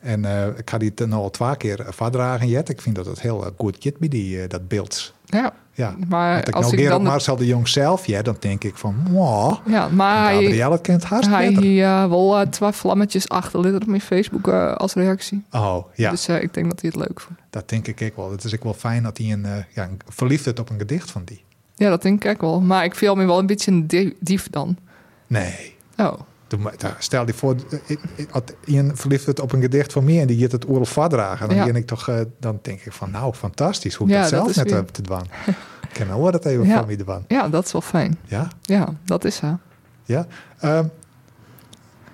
[SPEAKER 2] En eh, ik ga die ten- nou al twee keer vaardragen, Jet. Ik vind dat het heel eh, goed kit bij die, eh, dat beeld.
[SPEAKER 4] Ja,
[SPEAKER 2] Ja.
[SPEAKER 4] maar
[SPEAKER 2] Want ik
[SPEAKER 4] Eh, als
[SPEAKER 2] nou
[SPEAKER 4] ik
[SPEAKER 2] Gerard
[SPEAKER 4] dan... de-
[SPEAKER 2] Marcel de Jong zelf, ja, dan denk ik van, mwah,
[SPEAKER 4] Ja, maar hij,
[SPEAKER 2] Gabriel, het kent haast
[SPEAKER 4] hij
[SPEAKER 2] beter.
[SPEAKER 4] hier eh, wel eh, twee vlammetjes achterliet op mijn Facebook eh, als reactie.
[SPEAKER 2] Oh, ja,
[SPEAKER 4] Dus eh, ik denk dat hij het leuk vond.
[SPEAKER 2] dat denk ik ook wel. Het is ook wel fijn dat hij een, eh, ja, een verliefdheid op een gedicht van die.
[SPEAKER 4] Ja, dat denk ik ook wel. Maar ik viel me wel een beetje een di- dief dan.
[SPEAKER 2] Nee.
[SPEAKER 4] Oh,
[SPEAKER 2] Doe maar- daar- Stel je voor, eh, ik- ik had een verliefdheid op een gedicht van mij en die gaat het oorlog vaardragen. Dan,
[SPEAKER 4] Ja.
[SPEAKER 2] denk ik toch, eh, dan denk ik van, nou, fantastisch. Hoe ik
[SPEAKER 4] Ja,
[SPEAKER 2] dat
[SPEAKER 4] dat
[SPEAKER 2] zelf
[SPEAKER 4] is
[SPEAKER 2] net
[SPEAKER 4] weer-
[SPEAKER 2] heb te dwan. ik ken nou hoor dat even
[SPEAKER 4] Ja.
[SPEAKER 2] van wie dwan.
[SPEAKER 4] ja, dat is wel fijn.
[SPEAKER 2] Ja,
[SPEAKER 4] Ja, dat is hij.
[SPEAKER 2] ja. Ehm,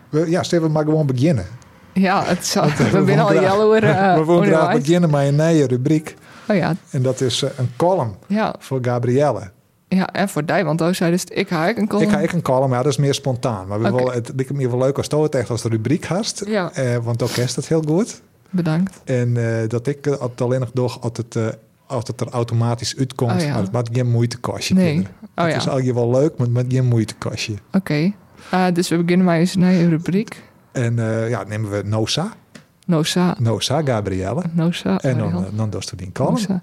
[SPEAKER 2] we, ja, Steven, we maar gewoon beginnen.
[SPEAKER 4] Ja, het zou, we
[SPEAKER 2] willen
[SPEAKER 4] zijn al
[SPEAKER 2] graag-
[SPEAKER 4] jaloer. eh,
[SPEAKER 2] we willen graag
[SPEAKER 4] onderwijs.
[SPEAKER 2] beginnen met een nieuwe rubriek.
[SPEAKER 4] Oh ja,
[SPEAKER 2] En dat is eh, een column
[SPEAKER 4] ja,
[SPEAKER 2] voor Gabrielle.
[SPEAKER 4] ja, en voor die, want daar zei dus ik haak een column.
[SPEAKER 2] Ik ga ik een column, maar dat is meer spontaan. Maar we
[SPEAKER 4] Oké.
[SPEAKER 2] willen, het lijkt me wel leuk als je het echt als de rubriek hast.
[SPEAKER 4] Ja.
[SPEAKER 2] Eh, want ook is dat heel goed.
[SPEAKER 4] Bedankt.
[SPEAKER 2] En eh, dat ik eh, het alleen nog door als het, eh, als het er automatisch uitkomt.
[SPEAKER 4] Oh ja.
[SPEAKER 2] Maar het maakt geen moeite kostje.
[SPEAKER 4] Nee.
[SPEAKER 2] kinderen.
[SPEAKER 4] Oh
[SPEAKER 2] het
[SPEAKER 4] ja.
[SPEAKER 2] is eigenlijk wel leuk, maar het maakt geen moeite kostje.
[SPEAKER 4] Oké, Eh, dus we beginnen met eens nieuwe rubriek.
[SPEAKER 2] En eh, ja, nemen we Nosa.
[SPEAKER 4] Noza.
[SPEAKER 2] Nosa, Gabrielle.
[SPEAKER 4] Noza.
[SPEAKER 2] En dan,
[SPEAKER 4] Ariel.
[SPEAKER 2] eh, dan doet die column.
[SPEAKER 4] Noza.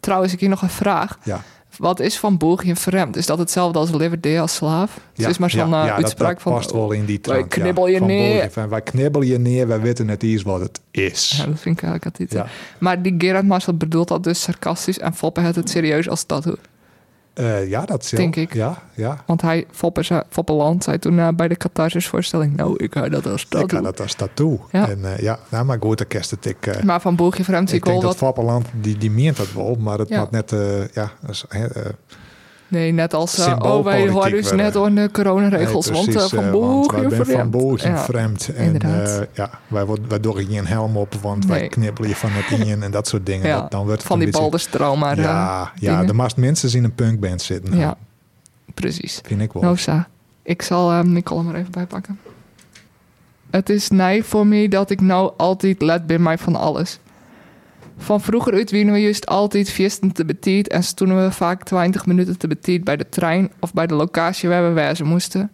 [SPEAKER 4] Trouwens, ik hier nog een vraag.
[SPEAKER 2] Ja.
[SPEAKER 4] Wat is van België vreemd? Is dat hetzelfde als Liverdale als slaaf?
[SPEAKER 2] Ja,
[SPEAKER 4] het is maar zo'n
[SPEAKER 2] ja,
[SPEAKER 4] eh,
[SPEAKER 2] ja, dat-
[SPEAKER 4] uitspraak
[SPEAKER 2] dat
[SPEAKER 4] van...
[SPEAKER 2] past wel in die
[SPEAKER 4] wij
[SPEAKER 2] trant. ja,
[SPEAKER 4] knibbel je
[SPEAKER 2] van
[SPEAKER 4] neer.
[SPEAKER 2] België. Van, wij knibbel je neer, wij weten het is wat het is.
[SPEAKER 4] Ja, dat vind ik eigenlijk altijd.
[SPEAKER 2] Ja.
[SPEAKER 4] Maar die Gerard Marcel bedoelt dat dus sarcastisch en Foppe had het serieus als dat hoor.
[SPEAKER 2] Eh, ja, dat is
[SPEAKER 4] Denk ik.
[SPEAKER 2] Ja, ja.
[SPEAKER 4] Want hij, Foppe, zei- Foppe Land, zei toen eh, bij de Catharsis-voorstelling... Nou, ik ga dat als dat
[SPEAKER 2] ik had dat als tattoo.
[SPEAKER 4] Ja.
[SPEAKER 2] En eh, ja, nou, maar goed, dan kerst het ik. eh,
[SPEAKER 4] Maar van Boegje Vreemd,
[SPEAKER 2] ik
[SPEAKER 4] ik
[SPEAKER 2] denk
[SPEAKER 4] al
[SPEAKER 2] dat
[SPEAKER 4] wat...
[SPEAKER 2] Fapperland, die, die meent dat wel, maar het
[SPEAKER 4] Ja.
[SPEAKER 2] had net, eh, ja, als, hè, eh,
[SPEAKER 4] Nee, net als... eh, oh, wij
[SPEAKER 2] Symboolpolitiek
[SPEAKER 4] horen dus
[SPEAKER 2] werden.
[SPEAKER 4] net aan de coronaregels.
[SPEAKER 2] nee,
[SPEAKER 4] want eh,
[SPEAKER 2] precies,
[SPEAKER 4] van
[SPEAKER 2] eh, want wij
[SPEAKER 4] Boegje
[SPEAKER 2] zijn van
[SPEAKER 4] Vreemd.
[SPEAKER 2] boos en
[SPEAKER 4] Ja.
[SPEAKER 2] vreemd. En
[SPEAKER 4] inderdaad.
[SPEAKER 2] eh, ja, wij, word- wij dorren geen helm op, want wij
[SPEAKER 4] Nee.
[SPEAKER 2] knippelen je van het in en dat soort dingen.
[SPEAKER 4] Ja,
[SPEAKER 2] Dat- dan wordt het
[SPEAKER 4] Van
[SPEAKER 2] een
[SPEAKER 4] die
[SPEAKER 2] beetje-
[SPEAKER 4] balderstrauma. eh,
[SPEAKER 2] Ja, ja
[SPEAKER 4] dingen.
[SPEAKER 2] de mast mensen in een punkband zitten. Nou,
[SPEAKER 4] ja, precies.
[SPEAKER 2] Vind ik wel.
[SPEAKER 4] Nou, Sa, ik zal eh mijn column er even bij pakken. Het is nij voor mij dat ik nou altijd let ben mij van alles. Van vroeger uit wienen we juist altijd viesten te betiet en stonden we vaak 20 minuten te betiet bij de trein of bij de locatie waar we wezen moesten.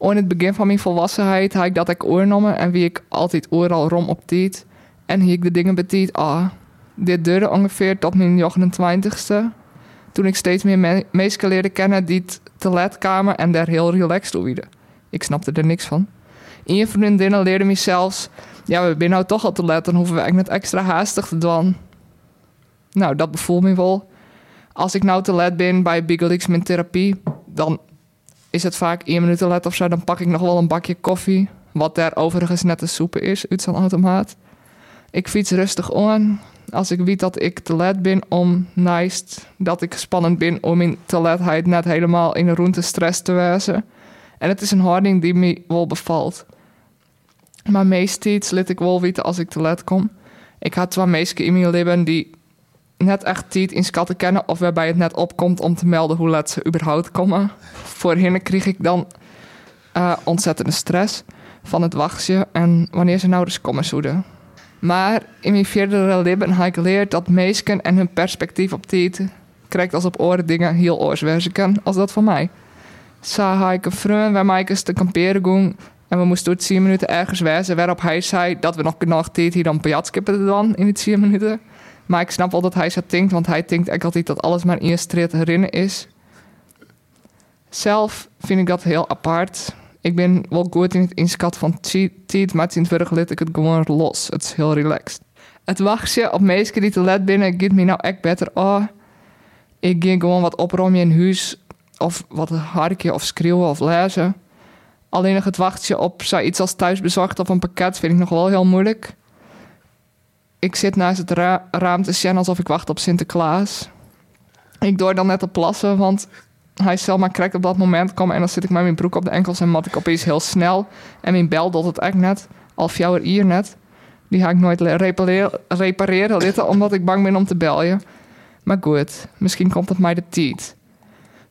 [SPEAKER 4] Aan het begin van mijn volwassenheid had ik dat ik oornomen en wie ik altijd ooral rom op tiet en hier ik de dingen betiet. Ah, dit duurde ongeveer tot mijn 29ste toen ik steeds meer me mensen leerde kennen die het te laat kwamen en daar heel relaxed door wieden. Ik snapte er niks van. Een vriendinnen leerde me zelfs, ja, we zijn nou toch al te laat, dan hoeven we eigenlijk net extra haastig te doen. Nou, dat bevoelt me wel. Als ik nou te laat ben bij Bigelix mijn therapie, dan is het vaak één minuut te laat of zo, dan pak ik nog wel een bakje koffie, wat daar overigens net een soep is, uit zo'n automaat. Ik fiets rustig aan, als ik weet dat ik te laat ben om nice, dat ik spannend ben om in te laatheid net helemaal in de roente stress te wijzen. En het is een houding die me wel bevalt. Maar meestal liet ik wel weten als ik te laat kom. Ik had twee meisjes in mijn leven die net echt tijd in schatten kennen of waarbij het net opkomt om te melden hoe laat ze überhaupt komen. Voorheen kreeg ik dan eh, ontzettende stress van het wachtje en wanneer ze nou dus komen zouden. Maar in mijn verdere leven heb ik geleerd dat meisken en hun perspectief op tijd krijgt als op oren dingen heel oorswerken als dat van mij. Zo had ik een vriend waar mij eens te kamperen ging en we moesten door 10 minuten ergens wezen waarop hij zei dat we nog genoeg tijd hier dan pajatskippen dan in die 10 minuten. Maar ik snap wel dat hij zo denkt, want hij denkt eigenlijk altijd dat alles maar eerst te herinneren is. Zelf vind ik dat heel apart. Ik ben wel goed in het inschatten van ti- tijd, maar sinds vorige lid ik het gewoon los. Het is heel relaxed. Het wachtje op mensen die te laat binnen, gaat me nou echt beter. Oh, ik ging gewoon wat opruimen in huis. Of wat harken of schreeuwen of lezen. Alleen nog het wachtje op zoiets als thuisbezorgd of een pakket vind ik nog wel heel moeilijk. Ik zit naast het ra- raam te zien alsof ik wacht op Sinterklaas. Ik door dan net te plassen, want hij zal maar krek op dat moment komen en dan zit ik met mijn broek op de enkels en mat ik opeens heel snel. En mijn bel doet het echt net, al jouw hier net. Die ga ik nooit le- repareren, repareren litten, omdat ik bang ben om te beljen. Maar goed, misschien komt het mij de tijd.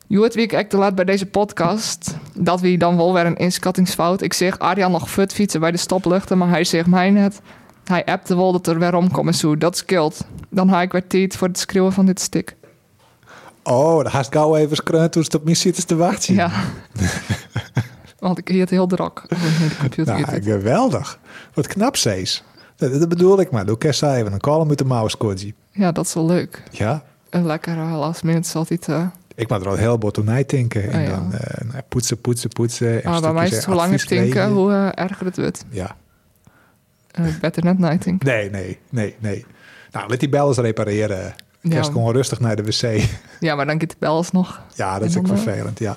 [SPEAKER 4] Joet, wie ik echt te laat bij deze podcast, dat wie dan wel weer een inschattingsfout. Ik zeg Arjan nog fut fietsen bij de stoplichten, maar hij zegt mij net. Hij appte wel dat er weer omkomen zou, dat scheelt. Dan haal ik weer tijd voor het schreeuwen van dit stuk.
[SPEAKER 2] Oh, dan haast ik gauw even scrunten toen ze op mij zitten te wachten.
[SPEAKER 4] Ja. Want ik hield heel druk. Oh, nee, de computer hield
[SPEAKER 2] Nou,
[SPEAKER 4] het.
[SPEAKER 2] geweldig. Wat knap, Sees. Dat, dat bedoel ik maar. Doe kerst even een column met de mouse, Cody.
[SPEAKER 4] Ja, dat is wel leuk.
[SPEAKER 2] Ja,
[SPEAKER 4] Een lekkere last minute zal dit... eh,
[SPEAKER 2] ik maak er al heel bot aan tinken. En
[SPEAKER 4] Oh, ja.
[SPEAKER 2] dan eh, nou, poetsen, poetsen, poetsen. En
[SPEAKER 4] ah, bij mij is het hoe langer het tinken, hoe eh, erger het wordt.
[SPEAKER 2] Ja,
[SPEAKER 4] Eh, better net night think.
[SPEAKER 2] nee, nee, nee, nee. Nou, laat die bel eens repareren.
[SPEAKER 4] Ja.
[SPEAKER 2] Kerst gewoon rustig naar de wc.
[SPEAKER 4] Ja, maar dan gaat de bel alsnog.
[SPEAKER 2] ja, dat is
[SPEAKER 4] En
[SPEAKER 2] ook
[SPEAKER 4] dan, eh,
[SPEAKER 2] vervelend, ja.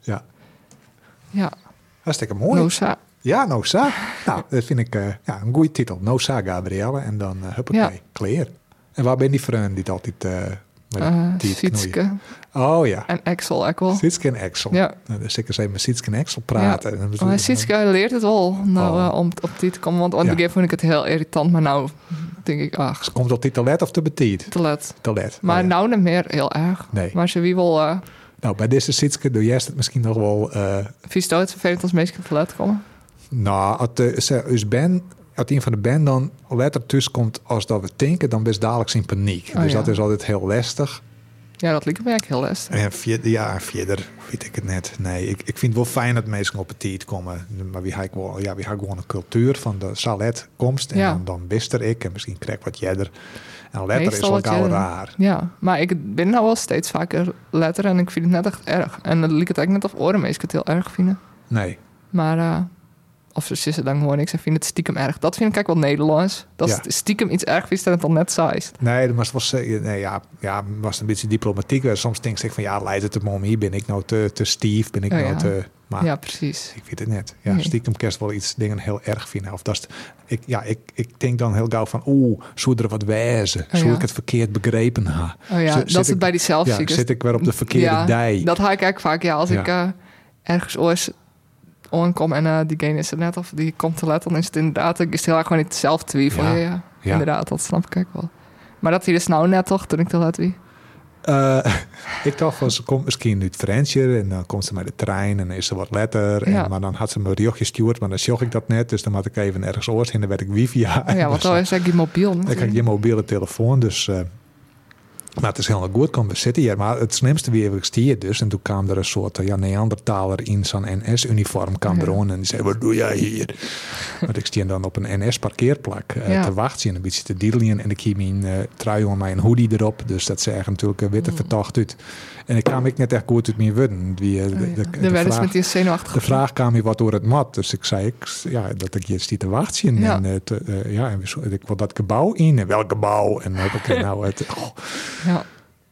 [SPEAKER 2] ja.
[SPEAKER 4] Ja,
[SPEAKER 2] Hartstikke mooi.
[SPEAKER 4] Rosa.
[SPEAKER 2] Ja, Noza. Nou, dat vind ik eh, ja, een goede titel. Noza Gabrielle. En dan eh huppakee,
[SPEAKER 4] Ja.
[SPEAKER 2] clear. En waar ben die vriend die het altijd eh met
[SPEAKER 4] eh,
[SPEAKER 2] die knoeien?
[SPEAKER 4] Sietske
[SPEAKER 2] Oh ja,
[SPEAKER 4] en Axel ook wel.
[SPEAKER 2] Sietske en Axel.
[SPEAKER 4] Ja.
[SPEAKER 2] Nou, dan zit ik eens even met Sietske en Axel praten. En dan
[SPEAKER 4] Ja.
[SPEAKER 2] bedoel
[SPEAKER 4] Maar
[SPEAKER 2] ik-
[SPEAKER 4] Sietske leert het wel nou,
[SPEAKER 2] Oh.
[SPEAKER 4] eh, om op dit te komen. Want aan het
[SPEAKER 2] Ja.
[SPEAKER 4] begin vond ik het heel irritant. Maar nou denk ik, ach,
[SPEAKER 2] eh, Ze komt op die toilet of te betiet?
[SPEAKER 4] te laat.
[SPEAKER 2] Toilet.
[SPEAKER 4] Maar
[SPEAKER 2] Oh, ja.
[SPEAKER 4] nou niet meer heel erg.
[SPEAKER 2] Nee.
[SPEAKER 4] Maar ze wie wel eh
[SPEAKER 2] Nou, bij deze Sietske doe jij het misschien nog wel... eh,
[SPEAKER 4] vies dood vervelend als mensen te laat komen.
[SPEAKER 2] nou, als, de, ze- als ben... Als een van de band dan later thuis komt als dat we tinken, dan best dadelijk in paniek.
[SPEAKER 4] Oh,
[SPEAKER 2] dus
[SPEAKER 4] ja.
[SPEAKER 2] dat is altijd heel lastig.
[SPEAKER 4] Ja, dat liep me eigenlijk heel les.
[SPEAKER 2] En verder, ja, verder weet ik het net. Nee, ik, ik vind het wel fijn dat mensen op het tijd komen. Maar wie ga ik wel, ja, wie ga ik gewoon een cultuur van de saletkomst. En
[SPEAKER 4] Ja.
[SPEAKER 2] dan, dan wist er ik en misschien krijg ik wat jedder. En letter is
[SPEAKER 4] Meestal
[SPEAKER 2] wel
[SPEAKER 4] wat
[SPEAKER 2] gauw
[SPEAKER 4] jedder.
[SPEAKER 2] raar.
[SPEAKER 4] Ja, maar ik ben nou wel steeds vaker letter en ik vind het net echt erg. En dan liep het eigenlijk net of oren mensen het heel erg vinden.
[SPEAKER 2] Nee,
[SPEAKER 4] Maar eh, Of ze zitten dan gewoon niks en vinden het stiekem erg. Dat vind ik eigenlijk wel Nederlands. Dat
[SPEAKER 2] Ja.
[SPEAKER 4] is stiekem iets erg vindt en het dan net saais.
[SPEAKER 2] Nee, maar het was, eh, nee ja, ja, het was een beetje diplomatiek. Eh, Soms denk ik van ja, leidt het hem om hier? Ben ik nou te, te stief? Ben ik
[SPEAKER 4] Oh,
[SPEAKER 2] nou
[SPEAKER 4] ja.
[SPEAKER 2] te... Maar
[SPEAKER 4] Ja, precies.
[SPEAKER 2] ik weet het net. Ja,
[SPEAKER 4] Nee.
[SPEAKER 2] stiekem kerst wel iets dingen heel erg vinden. Of dat is, ik, ja, ik, ik denk dan heel gauw van oeh, zou er wat wijzen?
[SPEAKER 4] Oh,
[SPEAKER 2] Zou
[SPEAKER 4] ja.
[SPEAKER 2] ik het verkeerd begrepen ha?
[SPEAKER 4] Oh ja,
[SPEAKER 2] Zit- zit
[SPEAKER 4] dat is het
[SPEAKER 2] ik-
[SPEAKER 4] bij die
[SPEAKER 2] Ja,
[SPEAKER 4] zelfziektes.
[SPEAKER 2] zit ik weer op de verkeerde dij?
[SPEAKER 4] Dat haal ik eigenlijk vaak. Ja, als
[SPEAKER 2] Ja.
[SPEAKER 4] ik eh, ergens oors aankom en eh diegene is er net of die komt te laat, dan is het inderdaad, ik is het heel erg gewoon niet zelf twijfel.
[SPEAKER 2] Ja.
[SPEAKER 4] Ja, ja.
[SPEAKER 2] Ja.
[SPEAKER 4] inderdaad, dat snap ik eigenlijk wel. Maar dat hier is nou net toch, toen ik te laat wie.
[SPEAKER 2] Eh, ik dacht van, ze komt misschien uit Fransje en dan komt ze met de trein en dan is ze wat letter.
[SPEAKER 4] Ja.
[SPEAKER 2] En, maar dan had ze me riochtje gestuurd, maar dan zag ik dat net. Dus dan had ik even ergens oors en dan werd ik wifi aan.
[SPEAKER 4] Oh ja, want
[SPEAKER 2] Dus,
[SPEAKER 4] dan is eigenlijk die mobiel.
[SPEAKER 2] dan krijg je mobiele telefoon, dus... eh, maar het is helemaal goed, kom, we zitten hier. Maar het slimste weer, ik stier dus. En toen kwam er een soort eh, ja, Neandertaler in zo'n NS-uniform. kwam
[SPEAKER 4] Ja.
[SPEAKER 2] er aan en die zei, wat doe jij hier? Want ik stond dan op een NS-parkeerplak eh,
[SPEAKER 4] Ja.
[SPEAKER 2] te wachten. En een beetje te diddelen. En ik hield mijn eh, trui en mijn hoodie erop. Dus dat zag er natuurlijk eh,
[SPEAKER 4] Mm.
[SPEAKER 2] witte vertacht uit. En ik kwam ik net echt goed uit mijn wudden. Die,
[SPEAKER 4] Oh
[SPEAKER 2] eh, de, de- de
[SPEAKER 4] De wel eens
[SPEAKER 2] vraag-
[SPEAKER 4] dus met die zenuwachtige.
[SPEAKER 2] de vraag kwam hier wat door het mat. Dus ik zei ik, ja, dat ik hier zit te wachten.
[SPEAKER 4] Ja.
[SPEAKER 2] En, eh, te, eh, ja, en we zo- ik wil dat gebouw in. En welk gebouw? En heb ik nou het... oh,
[SPEAKER 4] Ja,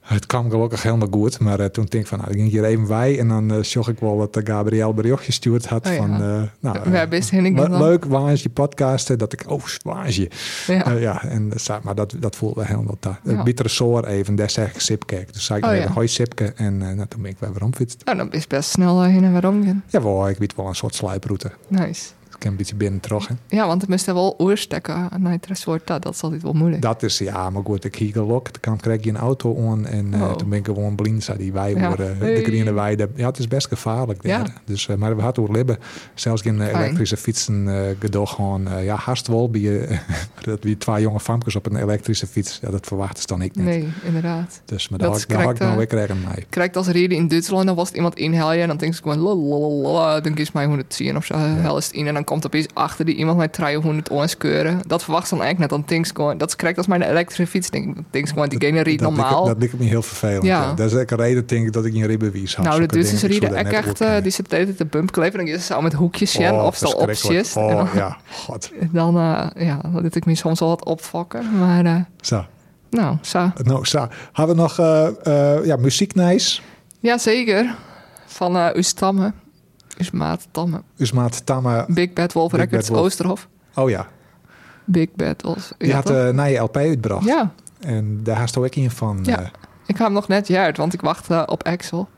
[SPEAKER 2] het kwam gelukkig helemaal goed. Maar eh, toen denk ik van, nou, ik ging hier even bij. En dan eh, zag ik wel dat Gabrielle Gabriel berichtje gestuurd had.
[SPEAKER 4] Oh ja.
[SPEAKER 2] van, eh, nou,
[SPEAKER 4] we hebben best heel
[SPEAKER 2] wat
[SPEAKER 4] erg
[SPEAKER 2] leuk, waar is je podcast? Eh, Dat ik, oh, waar is je?
[SPEAKER 4] Ja.
[SPEAKER 2] Eh, ja, en, eh, zei- maar dat, dat voelde helemaal daar.
[SPEAKER 4] Ja.
[SPEAKER 2] Het bittere soor even, daar zeg ik Sipke. Dus zei ik
[SPEAKER 4] Oh
[SPEAKER 2] nog
[SPEAKER 4] ja.
[SPEAKER 2] even, hoi Sipke. En eh, nou, toen ben ik weer weer omfietst.
[SPEAKER 4] Nou, dan is best snel eh, heen en weer omgaan.
[SPEAKER 2] Jawel, ik weet wel een soort sluiproute.
[SPEAKER 4] Nice.
[SPEAKER 2] Ik ken een beetje binnen terug, hè.
[SPEAKER 4] Ja, want het moest er wel oerstekken naar het resort. Dat, dat is altijd wel moeilijk.
[SPEAKER 2] Dat is, ja, maar goed, ik hieg gelokt. Dan kreeg je een auto aan en eh,
[SPEAKER 4] Oh.
[SPEAKER 2] toen ben ik gewoon blind, zei die wij
[SPEAKER 4] Ja.
[SPEAKER 2] over eh, de
[SPEAKER 4] Hey.
[SPEAKER 2] groene weide. Ja, het is best gevaarlijk daar.
[SPEAKER 4] Ja.
[SPEAKER 2] Dus, eh, maar we hadden ook libben. Zelfs geen eh,
[SPEAKER 4] Fijn.
[SPEAKER 2] elektrische fietsen eh gedoog gewoon. eh, ja, hartst wel bij, eh, dat wie twee jonge famkes op een elektrische fiets. Ja, dat verwachten ze dan ik niet.
[SPEAKER 4] nee, inderdaad.
[SPEAKER 2] Dus maar
[SPEAKER 4] Dat
[SPEAKER 2] daar had
[SPEAKER 4] is
[SPEAKER 2] ik- daar had ik
[SPEAKER 4] correct,
[SPEAKER 2] nou
[SPEAKER 4] eh.
[SPEAKER 2] weer krijgen mee.
[SPEAKER 4] Krijgt als reden in Duitsland, dan was het iemand in Helje en dan denkt ze gewoon lalalala, dan kies mij 110 of zo, hel is het in. En dan komt opeens achter die iemand mij 300 ons keuren. Dat verwacht ze dan eigenlijk net, dan denkt ze gewoon, dat is correct als mijn elektrische fiets. Denk, ik, dan denkt ze gewoon, die gene riet
[SPEAKER 2] dat
[SPEAKER 4] normaal.
[SPEAKER 2] Lijkt, dat lijkt me heel vervelend.
[SPEAKER 4] Ja.
[SPEAKER 2] Ja. Dat is ook een reden, denk ik, dat ik een ribbewies had.
[SPEAKER 4] nou, de
[SPEAKER 2] Zulke
[SPEAKER 4] Duitsers
[SPEAKER 2] dingen, ik
[SPEAKER 4] rieden
[SPEAKER 2] zou daar
[SPEAKER 4] echt,
[SPEAKER 2] net
[SPEAKER 4] echt
[SPEAKER 2] ook
[SPEAKER 4] eh,
[SPEAKER 2] in.
[SPEAKER 4] die zitten de hele tijd te bump kleven. Dan is ze al met hoekjes in
[SPEAKER 2] Oh,
[SPEAKER 4] of zo
[SPEAKER 2] verschrikkelijk.
[SPEAKER 4] opties. En
[SPEAKER 2] Oh,
[SPEAKER 4] dan-
[SPEAKER 2] ja. God.
[SPEAKER 4] Dan, eh, ja, dan liet ik me soms wel wat opfokken. Maar, eh,
[SPEAKER 2] Zo.
[SPEAKER 4] nou, zo.
[SPEAKER 2] Nou, zo. Hadden we nog eh, eh, ja, muzieknijs?
[SPEAKER 4] Jazeker. Van eh uw stammen. Uw maat Tammen.
[SPEAKER 2] Dus maat Tama.
[SPEAKER 4] Big Bad Wolf
[SPEAKER 2] Big Bad
[SPEAKER 4] Records
[SPEAKER 2] Wolf.
[SPEAKER 4] Oosterhof.
[SPEAKER 2] Oh ja.
[SPEAKER 4] Big Bad Wolf.
[SPEAKER 2] Die had
[SPEAKER 4] toch?
[SPEAKER 2] eh na je LP uitgebracht.
[SPEAKER 4] ja,
[SPEAKER 2] En daar haast ook in van.
[SPEAKER 4] Ja.
[SPEAKER 2] eh,
[SPEAKER 4] ik had hem nog net juist, want ik wachtte op Axel.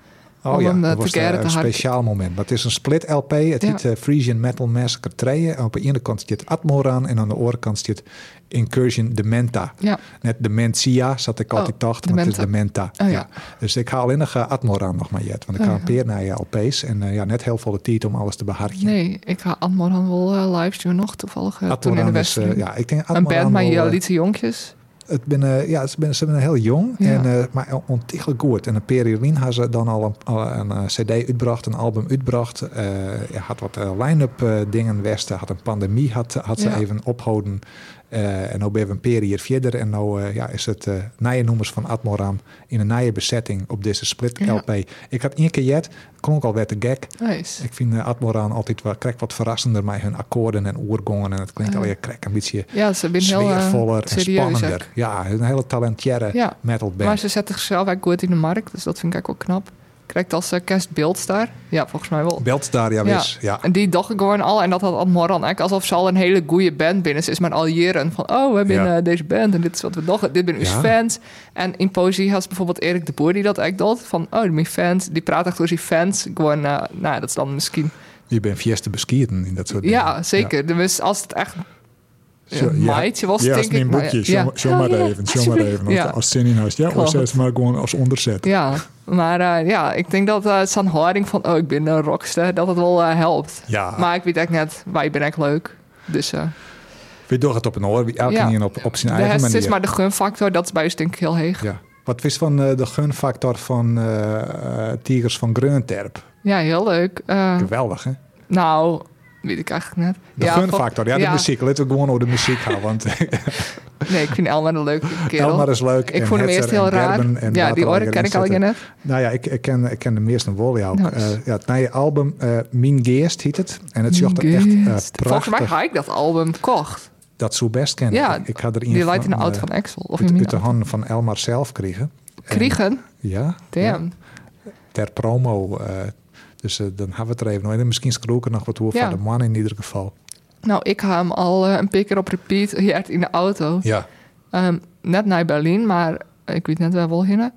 [SPEAKER 2] oh
[SPEAKER 4] Om
[SPEAKER 2] ja,
[SPEAKER 4] hem, eh,
[SPEAKER 2] dat
[SPEAKER 4] te
[SPEAKER 2] was eh,
[SPEAKER 4] keren te
[SPEAKER 2] een
[SPEAKER 4] harken.
[SPEAKER 2] speciaal moment. Maar het is een split LP. Het
[SPEAKER 4] Ja.
[SPEAKER 2] heet eh, Frisian Metal Massacre 3. En Op de ene kant zit Atmoran en aan de andere kant zit Incursion Dementa.
[SPEAKER 4] Ja,
[SPEAKER 2] Net Dementia zat ik
[SPEAKER 4] Oh,
[SPEAKER 2] altijd dacht, maar het is Dementa.
[SPEAKER 4] Oh, ja.
[SPEAKER 2] Dus ik haal alleen nog eh, Atmoran nog maar jet. Want ik
[SPEAKER 4] Oh,
[SPEAKER 2] ga
[SPEAKER 4] ja.
[SPEAKER 2] een peer naar je LP's. En eh, ja, net heel veel de tijd om alles te beharken.
[SPEAKER 4] nee, ik ga Antmoran wel live livestreamen nog toevallig eh, toen in de
[SPEAKER 2] Atmoran is, eh,
[SPEAKER 4] Westen.
[SPEAKER 2] ja, ik denk
[SPEAKER 4] een
[SPEAKER 2] Atmoran
[SPEAKER 4] band met
[SPEAKER 2] wel, eh,
[SPEAKER 4] Jalietse jonkjes.
[SPEAKER 2] Het binnen, ja, ze zijn ze zijn heel jong,
[SPEAKER 4] Ja.
[SPEAKER 2] en, eh, maar ontiegelijk goed. En een periodien had ze dan al een, al een eh, cd uitbracht, een album uitbracht. Eh, ja, had wat eh, line-up eh, dingen westen, had een pandemie, had, had ze
[SPEAKER 4] Ja.
[SPEAKER 2] even ophouden. Eh, en nu ben we een periode verder. En nu eh, ja, is het eh nieuwe nummers van Atmoram in een nieuwe bezetting op deze split
[SPEAKER 4] Ja.
[SPEAKER 2] LP. Ik had één keer jet, klonk al weer te gek.
[SPEAKER 4] Nice.
[SPEAKER 2] Ik vind eh, Atmoran altijd wel, krijgt wat verrassender met hun akkoorden en oergongen. En het klinkt
[SPEAKER 4] Ja.
[SPEAKER 2] alweer krek, een beetje
[SPEAKER 4] Ja, ze zijn heel eh,
[SPEAKER 2] sfeervoller en
[SPEAKER 4] serieus.
[SPEAKER 2] spannender.
[SPEAKER 4] ook.
[SPEAKER 2] Ja, een hele talentiere
[SPEAKER 4] Ja,
[SPEAKER 2] metal band.
[SPEAKER 4] maar ze zetten zichzelf eigenlijk goed in de markt, dus dat vind ik eigenlijk wel knap. Krijgt als uh, daar? Ja, volgens mij wel.
[SPEAKER 2] Belt daar, ja,
[SPEAKER 4] Ja.
[SPEAKER 2] wis. Ja.
[SPEAKER 4] En die dacht ik gewoon al. En dat had Admoran eigenlijk alsof ze al een hele goede band binnen is. is Maar al jaren van, oh, we hebben
[SPEAKER 2] Ja.
[SPEAKER 4] eh, deze band. En dit is wat we nog. Dit ben uw
[SPEAKER 2] Ja.
[SPEAKER 4] fans. En in poëzie had ze bijvoorbeeld Erik de Boer die dat eigenlijk doet. Van, oh, mijn fans. Die praat echt door zijn fans. Gewoon, eh, nou, dat is dan misschien...
[SPEAKER 2] Je bent fieste beskieten in dat soort dingen.
[SPEAKER 4] Ja, zeker. Dus als het echt...
[SPEAKER 2] Zo,
[SPEAKER 4] een
[SPEAKER 2] ja.
[SPEAKER 4] meidje was,
[SPEAKER 2] Ja,
[SPEAKER 4] denk
[SPEAKER 2] als
[SPEAKER 4] ik.
[SPEAKER 2] mijn
[SPEAKER 4] nou
[SPEAKER 2] boekje.
[SPEAKER 4] ja.
[SPEAKER 2] Zo zo maar
[SPEAKER 4] Oh, ja,
[SPEAKER 2] even, zo maar even.
[SPEAKER 4] alsjeblieft.
[SPEAKER 2] Want
[SPEAKER 4] Ja.
[SPEAKER 2] Als zin in huis. Ja, of
[SPEAKER 4] Klopt.
[SPEAKER 2] zet maar gewoon als onderzet.
[SPEAKER 4] Ja, maar eh, ja, ik denk dat eh zo'n houding van... oh, ik ben een rockster, dat het wel eh, helpt.
[SPEAKER 2] Ja.
[SPEAKER 4] Maar ik weet echt net, wij ben echt leuk. Dus eh
[SPEAKER 2] We doen het op een oor. Elke
[SPEAKER 4] Ja.
[SPEAKER 2] ja. op, op zijn
[SPEAKER 4] de
[SPEAKER 2] eigen
[SPEAKER 4] rest
[SPEAKER 2] manier.
[SPEAKER 4] is maar de gunfactor, dat is bij ons denk ik heel heeg.
[SPEAKER 2] ja. Wat wist van eh, de gunfactor van eh, eh, Tigers van Greunterp?
[SPEAKER 4] Ja, heel leuk. Eh,
[SPEAKER 2] Geweldig, hè?
[SPEAKER 4] nou, weet ik eigenlijk net.
[SPEAKER 2] De fun factor, ja, de muziek. Laten we gewoon over de muziek gaan, want
[SPEAKER 4] Nee, ik vind Elmer een leuke kerel.
[SPEAKER 2] Elmar is leuk.
[SPEAKER 4] ik
[SPEAKER 2] en
[SPEAKER 4] vond hem
[SPEAKER 2] Hetzer
[SPEAKER 4] eerst heel
[SPEAKER 2] en
[SPEAKER 4] raar.
[SPEAKER 2] Gerben en
[SPEAKER 4] ja, die
[SPEAKER 2] Waterlander
[SPEAKER 4] oren ken ik
[SPEAKER 2] zitten.
[SPEAKER 4] al net.
[SPEAKER 2] Nou ja, ik, ik, ken, ik ken de meeste wel ja ook.
[SPEAKER 4] Nice.
[SPEAKER 2] Eh, ja, het nieuwe album eh Min Geest heet het. En het zocht er echt eh,
[SPEAKER 4] Volgens mij
[SPEAKER 2] prachtig.
[SPEAKER 4] had ik dat album kocht.
[SPEAKER 2] Dat zou best kennen.
[SPEAKER 4] Ja,
[SPEAKER 2] ik, ik had er een
[SPEAKER 4] Die leidt in de
[SPEAKER 2] van,
[SPEAKER 4] auto
[SPEAKER 2] eh,
[SPEAKER 4] van Axel. Of
[SPEAKER 2] uit,
[SPEAKER 4] in
[SPEAKER 2] uit de
[SPEAKER 4] Mina.
[SPEAKER 2] handen van Elmar zelf kregen. En-
[SPEAKER 4] Kriegen?
[SPEAKER 2] ja, eh, ja,
[SPEAKER 4] Damn.
[SPEAKER 2] ter promo. eh, dus eh, dan hebben we het er even nog. En misschien schroek ik er nog wat over
[SPEAKER 4] Ja.
[SPEAKER 2] van de man in ieder geval.
[SPEAKER 4] Nou, ik haal hem al eh, een paar keer op repeat hier in de auto.
[SPEAKER 2] Ja,
[SPEAKER 4] Ehm, net naar Berlijn, maar eh, ik weet net waar wel heen.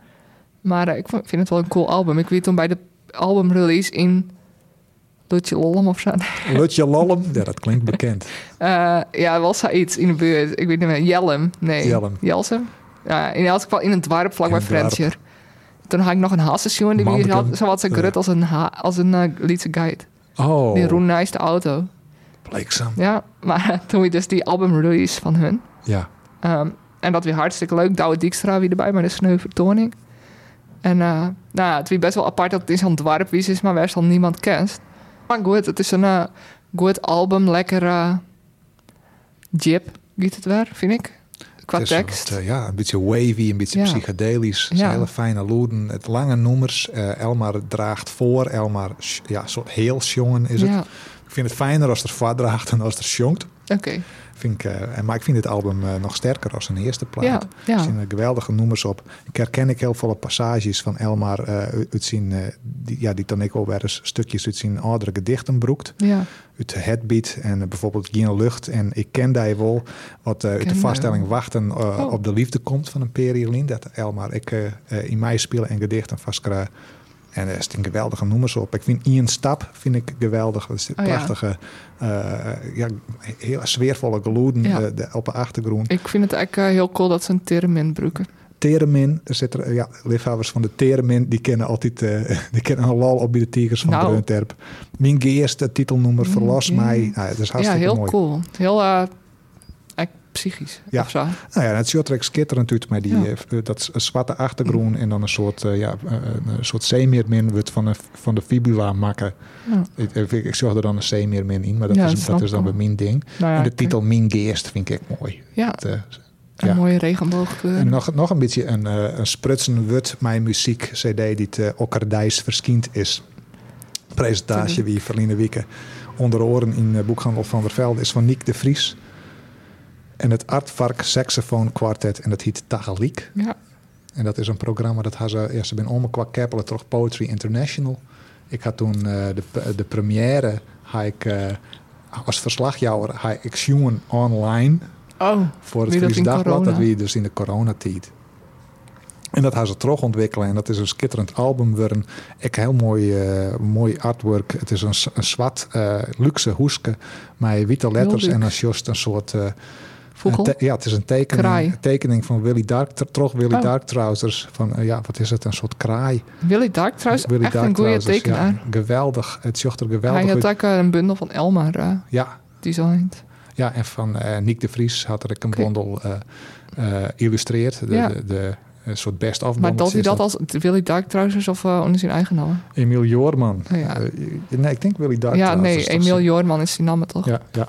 [SPEAKER 4] Maar eh, ik vond- vind het wel een cool album. Ik weet toen bij de albumrelease in Lutje Lollum of zo.
[SPEAKER 2] Lutje Lallem. Ja, dat klinkt bekend.
[SPEAKER 4] Eh, ja, was daar iets in de buurt. Ik weet niet meer. Jellem. Nee.
[SPEAKER 2] Jellem.
[SPEAKER 4] Jelsem. Ja, in elk geval in een dwarp vlakbij
[SPEAKER 2] In een dwarp.
[SPEAKER 4] Frentier. Toen had ik nog een hassensjoen. Die
[SPEAKER 2] Manneken.
[SPEAKER 4] wie had zowat zijn grut als een, ha- als een eh, Lietse guide.
[SPEAKER 2] Oh,
[SPEAKER 4] Die roen nice de auto.
[SPEAKER 2] bleekzaam.
[SPEAKER 4] Ja, maar toen we dus die album release van hun.
[SPEAKER 2] Ja,
[SPEAKER 4] Ehm, en dat weer hartstikke leuk. Douwe Dijkstra weer erbij, maar dat is een vertoning. En eh, nou ja, het weer best wel apart dat het in zo'n dwarpwies is, maar waar dan niemand kent. Maar goed, het is een eh, goed album, lekker eh, jip, giet het weer, vind ik. Qua
[SPEAKER 2] het is
[SPEAKER 4] tekst.
[SPEAKER 2] wat, eh, ja, een beetje wavy, een beetje
[SPEAKER 4] Ja.
[SPEAKER 2] psychedelisch. Het
[SPEAKER 4] Ja.
[SPEAKER 2] zijn Hele fijne loeden, het lange noemers. eh, Elmar draagt voor, Elmar sh- ja, soort heel jongen is het.
[SPEAKER 4] ja,
[SPEAKER 2] Ik vind het fijner als er voor draagt dan als er jongt.
[SPEAKER 4] oké.
[SPEAKER 2] Vind ik, eh, en- maar ik vind dit album eh, nog sterker als zijn eerste plaat.
[SPEAKER 4] Ja,
[SPEAKER 2] Er
[SPEAKER 4] ja.
[SPEAKER 2] zijn geweldige noemers op. Ik herken ik heel veel passages van Elmar eh, uit zijn, eh, die, ja, die dan ik ook wel eens stukjes Oh, uit zijn oudere gedichten broekt.
[SPEAKER 4] ja.
[SPEAKER 2] Uit de headbeat en eh, bijvoorbeeld Geen Lucht en Ik Ken Die Wel. Wat eh, uit
[SPEAKER 4] Ken
[SPEAKER 2] de
[SPEAKER 4] Die
[SPEAKER 2] vaststelling
[SPEAKER 4] Wel.
[SPEAKER 2] Wachten eh,
[SPEAKER 4] Oh.
[SPEAKER 2] op de Liefde komt van een periolin. Dat Elmar, ik eh, eh, in mij spelen en gedichten vastkrijg. En er staan geweldige noemers op. Ik vind Ian Stap vind ik geweldig. Dat is een
[SPEAKER 4] Oh ja.
[SPEAKER 2] prachtige, eh, ja, heel sfeervolle geluiden
[SPEAKER 4] Ja.
[SPEAKER 2] eh, de- op de achtergrond.
[SPEAKER 4] Ik vind het eigenlijk eh, heel cool dat ze een termin gebruiken.
[SPEAKER 2] Teremin, er zit er, ja, liefhebbers van de Teremin, die kennen altijd, eh, die kennen een lol op bij de Tigers van
[SPEAKER 4] Nou.
[SPEAKER 2] Breunterp. Mijn eerste titelnummer,
[SPEAKER 4] Mijn
[SPEAKER 2] Verlos
[SPEAKER 4] Geest.
[SPEAKER 2] mij. Nou, het is
[SPEAKER 4] ja,
[SPEAKER 2] hartstikke
[SPEAKER 4] heel
[SPEAKER 2] mooi.
[SPEAKER 4] cool. Heel eh, eigenlijk psychisch.
[SPEAKER 2] Ja.
[SPEAKER 4] Of zo.
[SPEAKER 2] Nou ja, het Sjotrek skitterend uit met die,
[SPEAKER 4] Ja.
[SPEAKER 2] eh, dat s- zwarte achtergrond en dan een soort, eh, ja, eh, een soort zeemeermin wordt van, een, van de fibula makken.
[SPEAKER 4] Ja.
[SPEAKER 2] Ik, ik, ik zorg er dan een zeemeermin in, maar dat,
[SPEAKER 4] Ja, dat
[SPEAKER 2] is, dat
[SPEAKER 4] snap
[SPEAKER 2] is dan
[SPEAKER 4] ik.
[SPEAKER 2] weer mijn ding.
[SPEAKER 4] Nou ja,
[SPEAKER 2] en de
[SPEAKER 4] oké.
[SPEAKER 2] titel Mijn Geest vind ik echt mooi.
[SPEAKER 4] Ja,
[SPEAKER 2] Het, eh,
[SPEAKER 4] een
[SPEAKER 2] ja.
[SPEAKER 4] mooie regenboogkleur.
[SPEAKER 2] En nog, nog een beetje een, eh, een sprutsen wut mijn muziek cd die te Okkerdijs verschiend is. Presentatie wie Verline Wieken onder oren in eh, boekhandel van der Velde is van Niek de Vries. En het Artvark Saxofoon Quartet en dat heet Tagaliek.
[SPEAKER 4] Ja,
[SPEAKER 2] En dat is een programma dat had ze eerst bij Ommekwak Keppelen toch Poetry International. Ik had toen eh, de, de première, had ik, eh, als verslagjouwer, had ik jongen online
[SPEAKER 4] Oh,
[SPEAKER 2] voor het
[SPEAKER 4] Wie dat
[SPEAKER 2] Fries
[SPEAKER 4] in
[SPEAKER 2] Dagblad.
[SPEAKER 4] corona?
[SPEAKER 2] Dat we dus in de coronatijd. En dat gaan ze terug ontwikkelen. En dat is een schitterend album. weer een Echt heel mooi, eh, mooi artwork. Het is een, s- een zwart eh, luxe hoeske. Met witte letters.
[SPEAKER 4] luxe.
[SPEAKER 2] En als just een soort... eh,
[SPEAKER 4] vogel.
[SPEAKER 2] een te- ja, het is een tekening,
[SPEAKER 4] Kraai.
[SPEAKER 2] tekening van Willy Dark, terug Willy
[SPEAKER 4] Oh.
[SPEAKER 2] Dark Trousers. Van, eh, ja, wat is het? Een soort kraai.
[SPEAKER 4] Willy Dark trouwens,
[SPEAKER 2] Willy
[SPEAKER 4] echt een goede
[SPEAKER 2] Darktrousers, ja.
[SPEAKER 4] tekenaar.
[SPEAKER 2] geweldig. Het zocht er
[SPEAKER 4] Hij
[SPEAKER 2] geweldig
[SPEAKER 4] had
[SPEAKER 2] uit.
[SPEAKER 4] ook eh, een bundel van Elmar eh,
[SPEAKER 2] Ja,
[SPEAKER 4] designed.
[SPEAKER 2] Ja, en van eh Niek de Vries had er ook een
[SPEAKER 4] Oké.
[SPEAKER 2] bondel eh, eh, illustreerd. De,
[SPEAKER 4] Ja.
[SPEAKER 2] de, de- een soort best af
[SPEAKER 4] Maar dat hij
[SPEAKER 2] is
[SPEAKER 4] dat als Willy Dark Trousers of eh, onder zijn eigen naam?
[SPEAKER 2] Emiel Joorman.
[SPEAKER 4] Oh ja.
[SPEAKER 2] Eh, nee, ik denk Willy Dark.
[SPEAKER 4] ja,
[SPEAKER 2] trouwens,
[SPEAKER 4] nee,
[SPEAKER 2] dat is toch
[SPEAKER 4] Emiel
[SPEAKER 2] zo-
[SPEAKER 4] Joorman is zijn naam toch?
[SPEAKER 2] Ja, ja.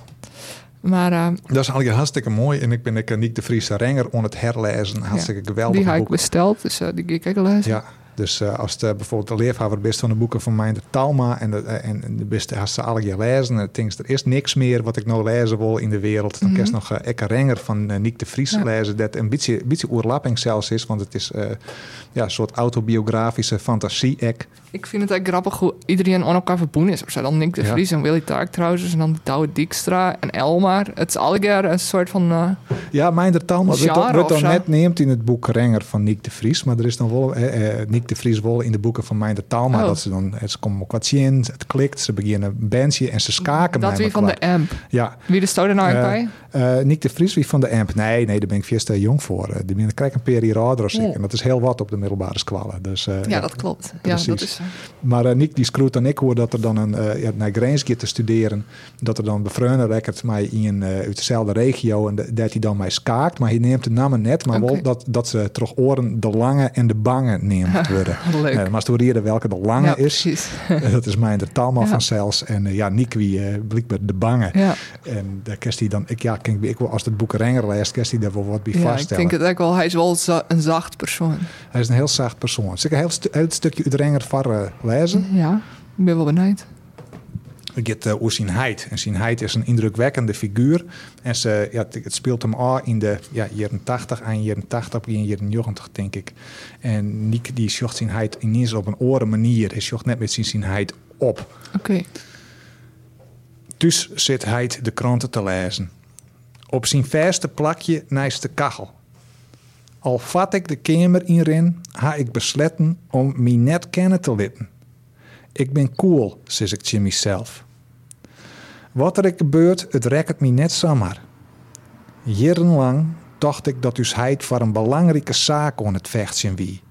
[SPEAKER 4] Maar eh,
[SPEAKER 2] Dat is eigenlijk hartstikke mooi. En ik ben ik, Niek de Vries Renger on het herlezen. Hartstikke geweldig
[SPEAKER 4] die heb ik
[SPEAKER 2] boek.
[SPEAKER 4] besteld, dus eh, die ga ik ook lezen.
[SPEAKER 2] Ja, dus eh, als de, bijvoorbeeld de leerhouder best van de boeken van mij, de Talma, en de, eh, en en de beste als ze alle je lezen, en denk er is niks meer wat ik nou lezen wil in de wereld. Dan kan je nog eh, Ekke Renger van eh, Niek de Vries
[SPEAKER 4] Mhm. Ja.
[SPEAKER 2] lezen, dat een beetje, beetje oerlapping zelfs is, want het is eh, ja, een soort autobiografische fantasie-ek.
[SPEAKER 4] Ik vind het echt grappig hoe iedereen aan elkaar verbonden is. Of zo. Dan Nick de
[SPEAKER 2] Ja.
[SPEAKER 4] Vries en Willy Dark Trousers en dan Douwe Dijkstra en Elmar. Het is alweer een soort van... eh,
[SPEAKER 2] Ja, mijn de Talma wordt
[SPEAKER 4] Genre
[SPEAKER 2] dan- wordt dan
[SPEAKER 4] of zo.
[SPEAKER 2] net neemt in het boek Renger van Niek de Vries, maar er is dan wel eh, eh, Niek de Vries wel in de boeken van mijn de Talma,
[SPEAKER 4] Oh.
[SPEAKER 2] dat ze dan, eh, ze komen ook wat in, het klikt, ze beginnen een bandje en ze skaken
[SPEAKER 4] dat
[SPEAKER 2] mij
[SPEAKER 4] weer van de amp.
[SPEAKER 2] Ja,
[SPEAKER 4] Wie de stoot er nou
[SPEAKER 2] Eh,
[SPEAKER 4] bij?
[SPEAKER 2] Eh Nick de Vries, wie van de AMP? Nee, nee, daar ben ik veel te jong voor. Eh, Die ben ik krijg een periode ouder als ik.
[SPEAKER 4] Ja.
[SPEAKER 2] En dat is heel wat op de middelbare squallen. Dus, eh,
[SPEAKER 4] Ja, dat klopt.
[SPEAKER 2] precies.
[SPEAKER 4] Ja, dat is, zo.
[SPEAKER 2] Maar eh, Nick die schroeit dan ik hoor dat er dan een, eh, ja, naar Grijns gaat te studeren. Dat er dan bevreunde record mij in eh, uit dezelfde regio. En de- dat hij dan mij skaakt. Maar hij neemt de namen net. Maar
[SPEAKER 4] Oké.
[SPEAKER 2] wel dat, dat ze terug oren de lange en de bange neemt worden.
[SPEAKER 4] Ah, Leuk.
[SPEAKER 2] Eh, maar studeren welke de lange
[SPEAKER 4] ja,
[SPEAKER 2] is.
[SPEAKER 4] precies.
[SPEAKER 2] Eh, Dat is mij de taalman
[SPEAKER 4] Ja.
[SPEAKER 2] van zelfs. En eh, ja, Nick wie eh, blijkbaar de bange.
[SPEAKER 4] Ja.
[SPEAKER 2] En daar kerst hij dan, ik, ja, kan ik, ik, wil- als het boek Renger leest, kerst hij daar wel wat bij
[SPEAKER 4] Ja, ik
[SPEAKER 2] vaststellen.
[SPEAKER 4] denk het ook wel. Hij is wel za- een zacht persoon.
[SPEAKER 2] Hij is een heel zacht persoon. Zeker een heel, stu- heel stukje uit Renger van eh, lezen.
[SPEAKER 4] Ja, ik ben wel benieuwd.
[SPEAKER 2] Ik get eh over zijn heid. En zijn heid is een indrukwekkende figuur. En ze, ja, het, het speelt hem aan in de ja, jaren 80, aan jaren 80, begin jaren 90, denk ik. En Nick die zocht zijn heid ineens op een oren manier. Hij zocht net met zijn, zijn heid op.
[SPEAKER 4] Oké.
[SPEAKER 2] Dus zit hij de kranten te lezen. Op zijn verste plakje naast de kachel. Al vat ik de kamer inrin, ha ik besletten om mij net kennen te litten. Ik ben cool, zis ik Jimmy zelf. Wat er ik gebeurt, het rekt me net zomaar. Jarenlang dacht ik dat us heid voor een belangrijke zaak aan het vechten wie.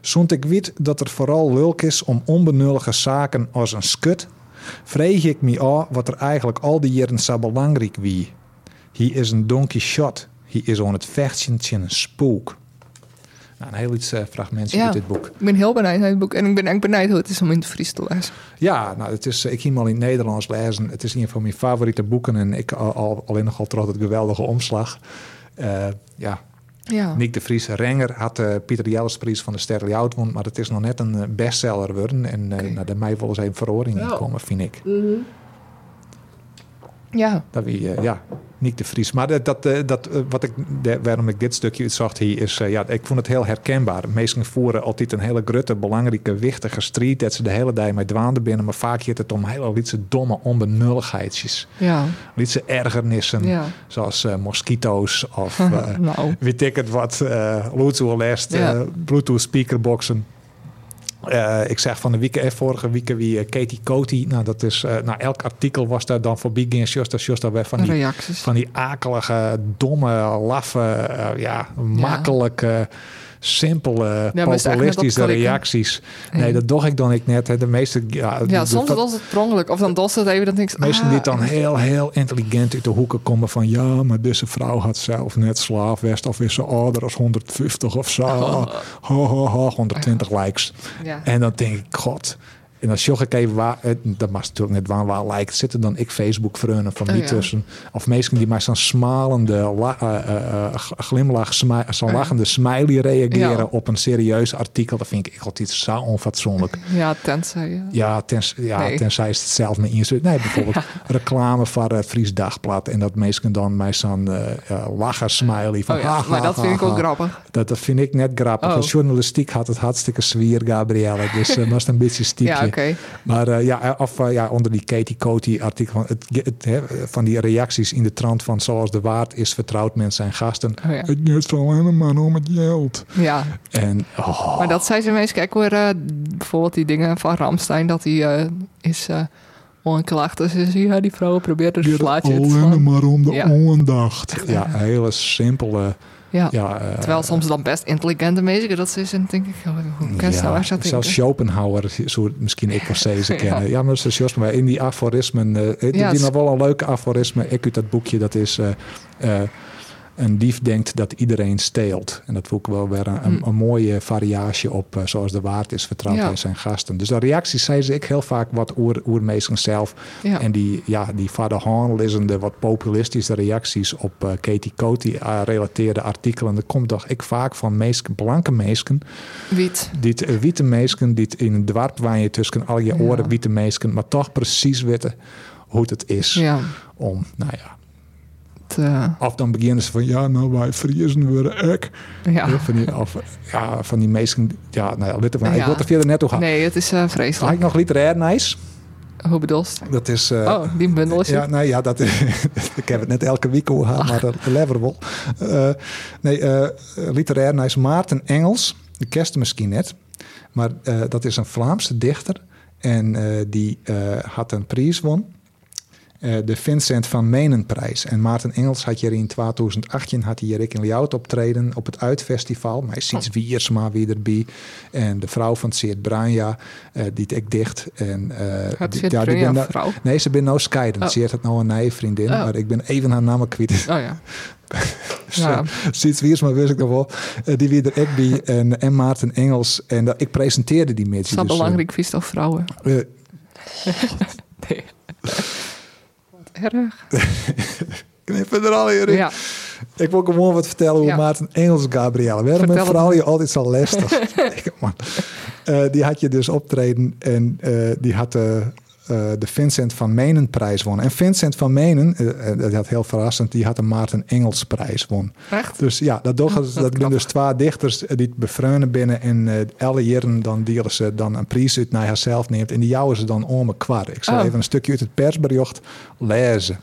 [SPEAKER 2] Zond ik weet dat er vooral lulk is om onbenullige zaken als een skut vreeg ik me af wat er eigenlijk al die jaren zo belangrijk wie. Hij is een donkey shot. Hij is aan het vechten tegen een spook. Nou, een heel iets eh, fragmentje
[SPEAKER 4] Ja.
[SPEAKER 2] uit dit boek.
[SPEAKER 4] Ik ben heel benieuwd naar het boek. En ik ben ook benieuwd hoe het is om in het Fries te lezen.
[SPEAKER 2] Ja, nou, het is, eh, ik ging hem al in het Nederlands lezen. Het is een van mijn favoriete boeken. En ik al, al, alleen nogal trots het geweldige omslag. Eh, ja,
[SPEAKER 4] Ja.
[SPEAKER 2] Nick de Vries Renger had eh, Pieter Jellesprijs van de Sterling Oudmond. Maar het is nog net een eh, bestseller geworden. En eh
[SPEAKER 4] Oké.
[SPEAKER 2] nou, daar mij wel eens een verhoring in
[SPEAKER 4] Ja.
[SPEAKER 2] komen, vind ik.
[SPEAKER 4] Ja.
[SPEAKER 2] Dat wie, eh, ja, Nick de Vries. Maar dat, dat, eh, dat, eh, wat ik, de- waarom ik dit stukje uitzocht hier is... eh, ja, ik vond het heel herkenbaar. Meestal voeren altijd een hele grutte, belangrijke, wichtige strijd... dat ze de hele dag mee dwaande binnen. Maar vaak gaat het om hele lietse domme onbenulligheidjes.
[SPEAKER 4] Ja.
[SPEAKER 2] Lietse ergernissen,
[SPEAKER 4] Ja.
[SPEAKER 2] zoals eh, mosquito's of... eh,
[SPEAKER 4] nou.
[SPEAKER 2] weet ik het wat, eh Bluetooth last,
[SPEAKER 4] Ja.
[SPEAKER 2] eh, Bluetooth speakerboxen. Eh, ik zeg van de week, eh, vorige week wie eh, Katie Coty. Nou, dat is, eh, nou, elk artikel was daar dan voor Big en Shuster, Shuster weer van die,
[SPEAKER 4] Reacties.
[SPEAKER 2] van die akelige, domme, laffe, eh, ja, makkelijke, simpele,
[SPEAKER 4] maar is eigenlijk net
[SPEAKER 2] populistische
[SPEAKER 4] opklikken.
[SPEAKER 2] reacties. Nee, dat doch ik dan ik net. hè. De meeste, ja, de-
[SPEAKER 4] ja,
[SPEAKER 2] de-
[SPEAKER 4] soms was het prongelijk. Of dan dost het even. Dan denk ik,
[SPEAKER 2] Mensen
[SPEAKER 4] ah,
[SPEAKER 2] die dan heel, heel intelligent uit de hoeken komen van... ja, maar deze vrouw had zelf net slaaf west of is ze ouder als 150 of zo.
[SPEAKER 4] Oh.
[SPEAKER 2] Ho, ho, ho, 120
[SPEAKER 4] Ah.
[SPEAKER 2] likes.
[SPEAKER 4] Ja.
[SPEAKER 2] En dan denk ik, god. En dan zocht ik even waar... eh, Dat mag natuurlijk net waar, waar lijkt. Zitten dan ik facebook vrienden van die
[SPEAKER 4] Oh ja.
[SPEAKER 2] tussen? Of mensen die maar zo'n smalende la- eh, eh, eh, g- glimlach... smi- zo'n lachende smiley reageren
[SPEAKER 4] Oh Ja.
[SPEAKER 2] op een serieus artikel. Dat vind ik god, iets zo onfatsoenlijk.
[SPEAKER 4] Ja, tenzij. Ja.
[SPEAKER 2] Ja, tens, ja
[SPEAKER 4] Nee.
[SPEAKER 2] tenzij ze het zelf mee inzet. Nee, bijvoorbeeld reclame van het Fries Dagblad. En dat meestal dan mij zo'n eh, eh, lachen smiley van
[SPEAKER 4] Oh ja,
[SPEAKER 2] ha, ha,
[SPEAKER 4] maar dat
[SPEAKER 2] ha,
[SPEAKER 4] vind ik ook
[SPEAKER 2] ha.
[SPEAKER 4] grappig.
[SPEAKER 2] Dat, dat vind ik net grappig.
[SPEAKER 4] Oh.
[SPEAKER 2] Als journalistiek had het hartstikke zwier, Gabrielle. Dus eh was een beetje stiepje.
[SPEAKER 4] Ja, oké.
[SPEAKER 2] Maar eh, ja, of, eh, ja, onder die Katie Coty artikel van, het, het, hè, van die reacties in de trant van zoals de waard is vertrouwd met zijn gasten.
[SPEAKER 4] Oh ja.
[SPEAKER 2] Het gaat alleen maar om het geld.
[SPEAKER 4] Ja.
[SPEAKER 2] En oh,
[SPEAKER 4] Maar dat zijn ze meest kijk hoor. eh, bijvoorbeeld die dingen van Ramstein. Dat hij eh, is eh onklacht. Dus is, ja, die vrouwen probeert er een slaatje te
[SPEAKER 2] alleen
[SPEAKER 4] slaan.
[SPEAKER 2] maar om de
[SPEAKER 4] Ja.
[SPEAKER 2] ondacht. Ja, een hele simpele.
[SPEAKER 4] Ja.
[SPEAKER 2] Ja, eh,
[SPEAKER 4] Terwijl soms dan best intelligente mensen dat is. En denk ik, oh, hoe kan ze nou echt zo denken?
[SPEAKER 2] zelfs Schopenhauer zou het misschien ik of zij ze
[SPEAKER 4] Ja.
[SPEAKER 2] kennen. Ja, maar ze zoals maar in die aforismen, eh die-
[SPEAKER 4] het
[SPEAKER 2] die
[SPEAKER 4] is-
[SPEAKER 2] nog wel een leuke aforisme. Ik uit dat boekje, dat is eh, eh, een dief denkt dat iedereen steelt. En dat vond ik wel weer een, een, een mooie variatie op eh, zoals de waard is vertrouwd
[SPEAKER 4] Mm. Ja.
[SPEAKER 2] bij zijn gasten. Dus de reacties zijn ze ik heel vaak wat oer, oermeesters zelf.
[SPEAKER 4] Ja.
[SPEAKER 2] En die, ja, die vader de wat populistische reacties op eh, Katie Coty-relateerde artikelen. Dat komt toch ik vaak van meesken, blanke meesken
[SPEAKER 4] Wiet.
[SPEAKER 2] dit eh, witte meesken, dit in het dwarp waar je tussen al je oren witte meesken, maar toch precies weten hoe het is
[SPEAKER 4] Ja.
[SPEAKER 2] om, nou ja.
[SPEAKER 4] het, eh,
[SPEAKER 2] Of dan beginnen ze van, ja, nou, wij vriezen weer ek.
[SPEAKER 4] ja.
[SPEAKER 2] Heel Van die, of, ja, van die meesken, ja, nou ja, witte van, ik
[SPEAKER 4] Ja.
[SPEAKER 2] wil er verder net toe gaan.
[SPEAKER 4] Nee, het is eh,
[SPEAKER 2] Had ik
[SPEAKER 4] vreselijk.
[SPEAKER 2] nog literair nice?
[SPEAKER 4] Hoe bedoelst?
[SPEAKER 2] Dat is... eh,
[SPEAKER 4] Oh, die bundel is
[SPEAKER 2] Ah. Ja,
[SPEAKER 4] het.
[SPEAKER 2] nou ja, dat, ik heb het net elke week over gehad, maar dat leverable. Eh, nee, eh, literair, hij is Maarten Engels. De kerst misschien net. Maar eh, dat is een Vlaamse dichter. En eh, die eh, had een prijs won. eh, de Vincent van Menenprijs. En Maarten Engels had hier in 2018 had hij hier ook in Liaut optreden op het Uitfestival. Maar hij ziet Wiersma weer erbij. En de vrouw van Seert Branja, eh, die het ook dicht. En, eh,
[SPEAKER 4] Gaat
[SPEAKER 2] die-
[SPEAKER 4] Seert
[SPEAKER 2] die
[SPEAKER 4] Branja
[SPEAKER 2] ben nou-
[SPEAKER 4] vrouw?
[SPEAKER 2] Nee, ze ben nou scheiden.
[SPEAKER 4] Oh.
[SPEAKER 2] Ze heeft het nou een nieuwe vriendin.
[SPEAKER 4] Oh.
[SPEAKER 2] Maar ik ben even haar naam kwijt. Dus, eh,
[SPEAKER 4] Oh ja.
[SPEAKER 2] Ja.
[SPEAKER 4] Ja.
[SPEAKER 2] Siets Wiersma wist ik nog wel. Eh, die weer er ook bij. En, en Maarten Engels. En dat, ik presenteerde die
[SPEAKER 4] Het
[SPEAKER 2] met dus, eh,
[SPEAKER 4] is wel belangrijk vies toch vrouwen? Nee. Wat erg.
[SPEAKER 2] knippen er al in. Rick.
[SPEAKER 4] Ja,
[SPEAKER 2] Ik wil gewoon wat vertellen hoe
[SPEAKER 4] Ja.
[SPEAKER 2] Maarten Engels Gabrielle. Waarom
[SPEAKER 4] Vertel
[SPEAKER 2] een
[SPEAKER 4] het
[SPEAKER 2] vrouw
[SPEAKER 4] me.
[SPEAKER 2] je altijd zo lastig? Ik, man. Eh, die had je dus optreden en eh, die had eh, eh, de Vincent van Menen prijs won. En Vincent van Menen, eh, eh, dat had heel verrassend, die had de Maarten Engels prijs won.
[SPEAKER 4] echt?
[SPEAKER 2] Dus ja, dat, docht, dat, dat doen dus twee dichters eh, die het bevreunen binnen. En eh alle jaren dan delen ze dan een prijs uit naar haarzelf neemt. En die jouwen ze dan om een kwart. Ik zal
[SPEAKER 4] Oh.
[SPEAKER 2] even een stukje uit het persbericht lezen.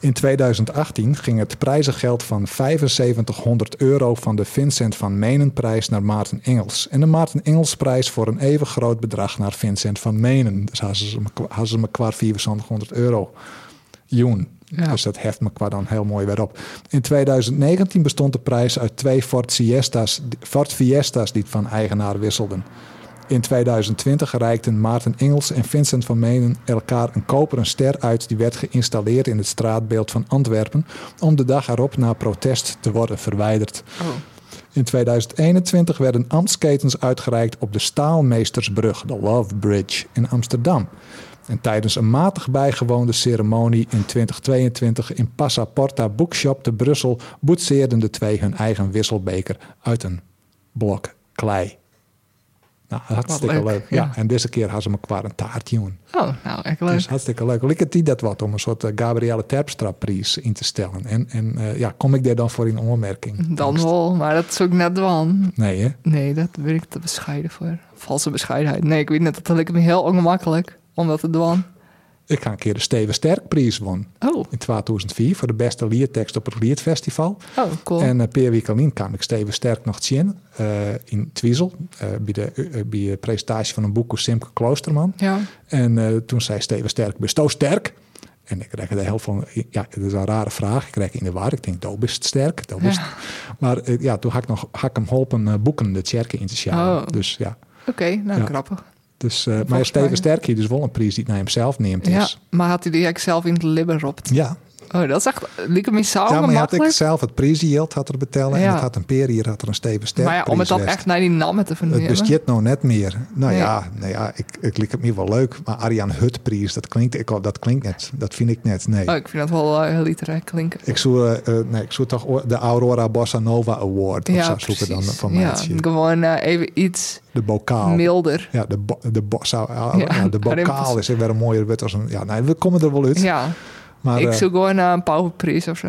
[SPEAKER 2] In 2018 ging het prijzengeld van 7500 euro van de Vincent van Menenprijs naar Maarten Engels. En de Maarten Engelsprijs voor een even groot bedrag naar Vincent van Menen. Dus hadden ze me- hadden ze me kwart 400 euro. Joen.
[SPEAKER 4] Ja.
[SPEAKER 2] Dus dat heft me qua dan heel mooi weer op. In 2019 bestond de prijs uit twee Ford, Siestas, Ford Fiesta's die van eigenaar wisselden. In 2020 reikten Maarten Engels en Vincent van Menen elkaar een koperen ster uit die werd geïnstalleerd in het straatbeeld van Antwerpen om de dag erop na protest te worden verwijderd.
[SPEAKER 4] Oh.
[SPEAKER 2] In 2021 werden ambtsketens uitgereikt op de Staalmeestersbrug, de Love Bridge, in Amsterdam. En tijdens een matig bijgewoonde ceremonie in 2022 in Passaporta Bookshop te Brussel boetseerden de twee hun eigen wisselbeker uit een blok klei. Nou, hartstikke
[SPEAKER 4] leuk,
[SPEAKER 2] leuk. Ja.
[SPEAKER 4] ja.
[SPEAKER 2] en deze keer hadden ze me qua een taartje. jongen.
[SPEAKER 4] Oh, nou, echt leuk.
[SPEAKER 2] Dus hartstikke leuk. Lukt het die dat wat om een soort eh, Gabrielle Terpstra-prijs in te stellen? En, en eh, ja, kom ik daar dan voor in onmerking?
[SPEAKER 4] Dan wel, maar dat is ook net dan.
[SPEAKER 2] Nee, hè?
[SPEAKER 4] Nee, dat ben ik te bescheiden voor. Valse bescheidenheid. Nee, ik weet net, dat lijkt me heel ongemakkelijk om dat te doen.
[SPEAKER 2] Ik ga een keer de Steven Sterkprijs won
[SPEAKER 4] Oh,
[SPEAKER 2] in 2004 voor de beste liedtekst op het Liedfestival.
[SPEAKER 4] oh cool.
[SPEAKER 2] En eh Peer Wiekelien kwam ik Steven Sterk nog zien eh, in Twiesel eh, bij, de, eh, bij de presentatie van een boek door Simke Kloosterman.
[SPEAKER 4] ja,
[SPEAKER 2] En eh, toen zei Steven Sterk, ben je zo sterk? En ik kreeg er heel van, eh, ja, dat is een rare vraag. Ik kreeg in de war. Ik denk, dat best sterk. Dat best.
[SPEAKER 4] Ja.
[SPEAKER 2] Maar eh, ja, toen had ik, nog, had ik hem geholpen eh, boeken de Tjerken in te sjouwen.
[SPEAKER 4] Oh.
[SPEAKER 2] Dus ja.
[SPEAKER 4] oké, nou
[SPEAKER 2] Ja.
[SPEAKER 4] grappig.
[SPEAKER 2] Dus, eh, maar
[SPEAKER 4] Volgens
[SPEAKER 2] Steven
[SPEAKER 4] mij-
[SPEAKER 2] Sterk hier dus wel een prijs die het naar hemzelf neemt.
[SPEAKER 4] Ja,
[SPEAKER 2] Is.
[SPEAKER 4] maar had hij die eigenlijk zelf in het libben ropt?
[SPEAKER 2] ja,
[SPEAKER 4] Oh, dat is echt, liep me zo
[SPEAKER 2] ja, maar je had ik
[SPEAKER 4] ongemakkelijk.
[SPEAKER 2] zelf het prijsgeld had er betellen. En
[SPEAKER 4] Ja.
[SPEAKER 2] het had een peer hier had er een Steven Sterk
[SPEAKER 4] Maar ja, om het dan
[SPEAKER 2] prijs
[SPEAKER 4] echt naar die namen te
[SPEAKER 2] Het
[SPEAKER 4] vernemen.
[SPEAKER 2] bestiert nou net meer. Nou
[SPEAKER 4] Nee.
[SPEAKER 2] ja, nou ja ik, ik liep het me wel leuk. Maar Arjan Hutprijs, dat klinkt, ik, dat klinkt net. Dat vind ik net, nee.
[SPEAKER 4] Oh, ik vind dat wel eh, heel literair klinken.
[SPEAKER 2] Ik zoek, eh, eh, nee, ik zoek toch o- de Aurora Bossa Nova Award. Of zo zoeken dan
[SPEAKER 4] precies.
[SPEAKER 2] van
[SPEAKER 4] Ja,
[SPEAKER 2] mij.
[SPEAKER 4] Gewoon eh, even iets
[SPEAKER 2] De bokaal.
[SPEAKER 4] milder.
[SPEAKER 2] Ja, de, bo- de, bossa, ah,
[SPEAKER 4] Ja,
[SPEAKER 2] ja, de
[SPEAKER 4] daarin
[SPEAKER 2] bokaal
[SPEAKER 4] pas-
[SPEAKER 2] is weer een mooier wet als een... Ja, nee, we komen er wel uit.
[SPEAKER 4] Ja,
[SPEAKER 2] maar
[SPEAKER 4] ik
[SPEAKER 2] eh,
[SPEAKER 4] zoek gewoon eh, een pauperprijs of zo.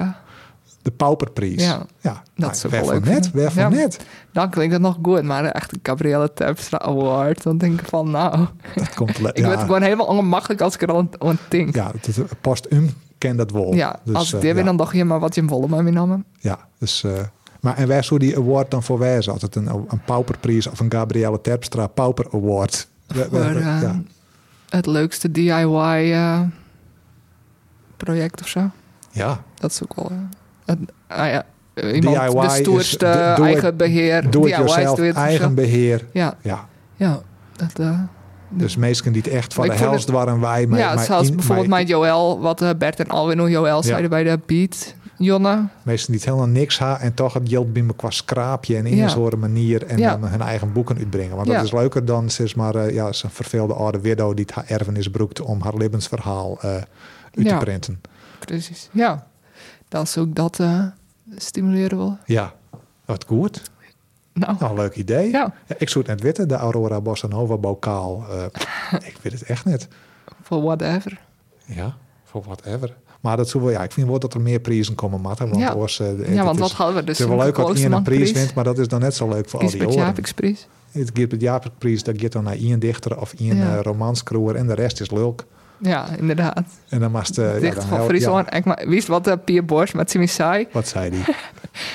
[SPEAKER 2] de pauperprijs.
[SPEAKER 4] Ja,
[SPEAKER 2] ja
[SPEAKER 4] dat is ook
[SPEAKER 2] weer
[SPEAKER 4] wel
[SPEAKER 2] van
[SPEAKER 4] leuk
[SPEAKER 2] net,
[SPEAKER 4] vinden.
[SPEAKER 2] weer van
[SPEAKER 4] Ja.
[SPEAKER 2] net.
[SPEAKER 4] Dan klinkt het nog goed, maar echt een Gabrielle Terpstra Award. Dan denk ik van, nou,
[SPEAKER 2] Dat komt le-
[SPEAKER 4] ik
[SPEAKER 2] ja.
[SPEAKER 4] word gewoon helemaal ongemakkelijk als ik er aan, aan denk. Ja,
[SPEAKER 2] Ja, dat past um ken dat wel. Dus,
[SPEAKER 4] als ik
[SPEAKER 2] eh,
[SPEAKER 4] dit
[SPEAKER 2] ja,
[SPEAKER 4] ben, dan dacht je, maar wat je in Wolle maar meenamen.
[SPEAKER 2] ja, dus, eh, maar en waar zou die award dan voor wijzen? Altijd een, een pauperprijs of een Gabrielle Terpstra pauper award? We- we-
[SPEAKER 4] Voor
[SPEAKER 2] we-
[SPEAKER 4] eh,
[SPEAKER 2] ja.
[SPEAKER 4] het leukste DIY-project eh, of zo.
[SPEAKER 2] ja,
[SPEAKER 4] Dat is ook wel... eh, een- ah ja, eh, iemand
[SPEAKER 2] DIY
[SPEAKER 4] de
[SPEAKER 2] is-
[SPEAKER 4] stoerste
[SPEAKER 2] do- doe het-
[SPEAKER 4] eigen beheer.
[SPEAKER 2] doe het
[SPEAKER 4] DIY's,
[SPEAKER 2] jezelf,
[SPEAKER 4] doe het
[SPEAKER 2] eigen
[SPEAKER 4] zelf.
[SPEAKER 2] beheer.
[SPEAKER 4] Ja,
[SPEAKER 2] Ja,
[SPEAKER 4] ja. Dat, eh,
[SPEAKER 2] dus mensen die het echt van
[SPEAKER 4] Maar
[SPEAKER 2] de
[SPEAKER 4] ik vond
[SPEAKER 2] helft waren wij. Maar,
[SPEAKER 4] ja,
[SPEAKER 2] maar
[SPEAKER 4] zoals
[SPEAKER 2] in-
[SPEAKER 4] bijvoorbeeld
[SPEAKER 2] maar
[SPEAKER 4] mijn Joël, wat eh, Bert en Alwin hoe Joël zeiden bij de beat. Jonne,
[SPEAKER 2] mensen die het helemaal niks ha en toch het geld bij me qua schraapje en in
[SPEAKER 4] Ja.
[SPEAKER 2] een soort manier en
[SPEAKER 4] Ja.
[SPEAKER 2] dan hun eigen boeken uitbrengen. Want
[SPEAKER 4] Ja.
[SPEAKER 2] dat is leuker dan zeg maar eh, ja, zo'n verveelde oude widow die het haar erfenis broekt om haar levensverhaal eh, uit
[SPEAKER 4] Ja.
[SPEAKER 2] te printen.
[SPEAKER 4] precies. Ja, dan zou ik dat eh, stimuleren wel.
[SPEAKER 2] Ja, wat goed.
[SPEAKER 4] Nou,
[SPEAKER 2] Nou, leuk idee.
[SPEAKER 4] ja,
[SPEAKER 2] Ja, ik zoek net weten, de Aurora Bossa Nova bokaal. Eh, ik weet het echt net.
[SPEAKER 4] voor whatever.
[SPEAKER 2] Ja, voor whatever. Maar dat zullen we, ja, ik vind wel dat er meer prijzen komen, Matta. Want
[SPEAKER 4] Ja.
[SPEAKER 2] oors, eh, het
[SPEAKER 4] ja, want
[SPEAKER 2] is-
[SPEAKER 4] wat hadden we dus?
[SPEAKER 2] Het is wel leuk dat iemand een prijs wint, maar dat is dan net zo leuk voor al die
[SPEAKER 4] Kiesbert
[SPEAKER 2] oren.
[SPEAKER 4] Japiksprijs.
[SPEAKER 2] Het Gilbert Japikprijs, dat gaat dan naar één dichter of één
[SPEAKER 4] Ja.
[SPEAKER 2] eh, romanskroer en de rest is leuk.
[SPEAKER 4] Ja, inderdaad.
[SPEAKER 2] En dan was het...
[SPEAKER 4] Dicht van Friesland. Ik ma- wist wat de Pier Bors met Timmy zei.
[SPEAKER 2] wat zei die?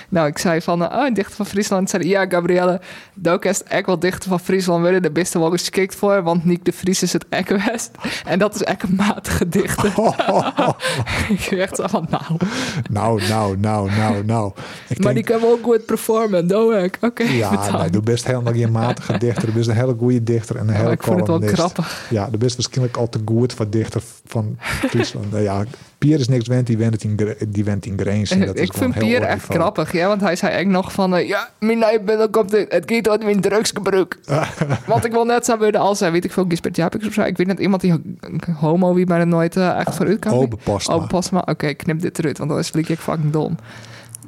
[SPEAKER 4] Nou, ik zei van, eh, oh, dichter van Friesland. Zei, hij, ja, Gabrielle, daar is echt wel dichter van Friesland worden. De beste wel geschikt voor, want Niek de Vries is het ekwest. En dat is echt een matige dichter. ik dacht zo van, nou,
[SPEAKER 2] nou, nou, nou, nou, nou. Ik
[SPEAKER 4] maar die kan wel goed performen, doe ik. Oké,
[SPEAKER 2] Ja,
[SPEAKER 4] bedankt.
[SPEAKER 2] nee, doe best helemaal geen matige dichter. Du bist een hele goede dichter en een hele
[SPEAKER 4] maar Oh, ik vond het wel
[SPEAKER 2] columnist.
[SPEAKER 4] grappig.
[SPEAKER 2] Ja, du bist waarschijnlijk al te goed voor dichter van Friesland. Nou ja, Pier is niks wend, die went het in, gre- die went in Grains. En dat is
[SPEAKER 4] ik
[SPEAKER 2] gewoon
[SPEAKER 4] vind
[SPEAKER 2] heel
[SPEAKER 4] Pier
[SPEAKER 2] hoog
[SPEAKER 4] echt
[SPEAKER 2] niveau.
[SPEAKER 4] grappig, ja, want hij zei echt nog van... eh, ja, mijn nijbundel komt in, het gaat uit mijn drugsgebruik. want ik wil net zo worden als, eh, weet ik veel, Gisbert Japix of zo. Ik weet net iemand die ho- homo wie maar er nooit eh, echt vooruit kan.
[SPEAKER 2] Obe Postma.
[SPEAKER 4] Oh, pas maar. Oké, knip dit eruit, want anders vlieg ik fucking dom.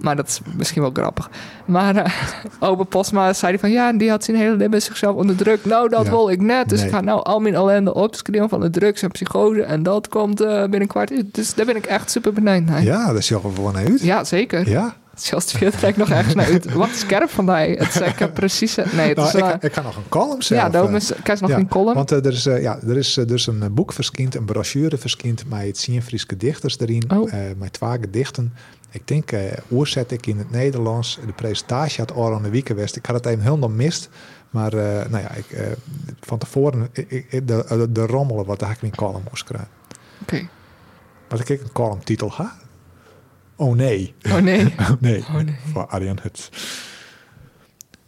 [SPEAKER 4] Maar dat is misschien wel grappig. Maar eh Obe Postma zei hij van... Ja, en die had zijn hele leven zichzelf onder druk. Nou, dat
[SPEAKER 2] Ja.
[SPEAKER 4] wil ik net. Dus
[SPEAKER 2] Nee.
[SPEAKER 4] ik ga nou al mijn ellende opschreeuwen van de drugs en psychose. En dat komt eh binnenkort. uit. Dus daar ben ik echt super benieuwd naar.
[SPEAKER 2] Ja, dat is jouw gewoon uit.
[SPEAKER 4] Ja, zeker.
[SPEAKER 2] Ja.
[SPEAKER 4] Zelfs de veertig kijk nog ergens naar uit. Wat scherp van mij. Het is eh, ik precies... Nee, het
[SPEAKER 2] Nou,
[SPEAKER 4] is... eh,
[SPEAKER 2] ik, ik kan nog een column
[SPEAKER 4] ja,
[SPEAKER 2] zelf.
[SPEAKER 4] daarom
[SPEAKER 2] eh,
[SPEAKER 4] is kijk nog
[SPEAKER 2] ja,
[SPEAKER 4] een column.
[SPEAKER 2] Want eh, er is, eh, ja, er is eh, dus een eh, boek verschijnd, een brochure verschijnd met het zien Frieske dichters erin,
[SPEAKER 4] Oh.
[SPEAKER 2] eh met twee gedichten. Ik denk, eh oorzet ik in het Nederlands de presentatie had Oran de Wiekenwest. Ik had het even helemaal mist, maar eh, nou ja, ik, eh, van tevoren ik, ik- de, eh, de, de rommelen wat ik in een column moest krijgen.
[SPEAKER 4] Oké.
[SPEAKER 2] Wat ik een columntitel ha? Oh nee.
[SPEAKER 4] Oh nee.
[SPEAKER 2] Oh nee.
[SPEAKER 4] Oh nee.
[SPEAKER 2] Van Arjen Huts.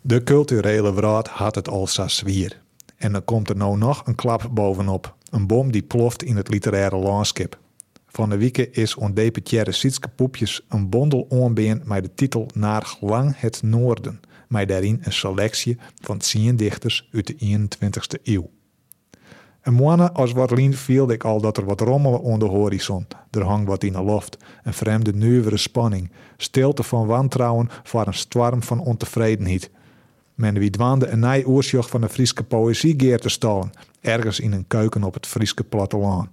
[SPEAKER 2] De culturele wraad had het al zwier. En dan komt er nou nog een klap bovenop. Een bom die ploft in het literaire landschap. Van de wieken is ondepetière Sietske Poepjes een bondel onbeend met de titel Naar lang het noorden. Met daarin een selectie van 10 dichters uit de 21ste eeuw. En moana als wat lien viel ik al dat er wat rommelen onder de horizon. Er hang wat in de loft. Een vreemde nuivere spanning. Stilte van wantrouwen voor een storm van ontevredenheid. Men wie dwaande een nij oorzocht van de Friese poëzie geer te stallen. Ergens in een keuken op het Friese platteland.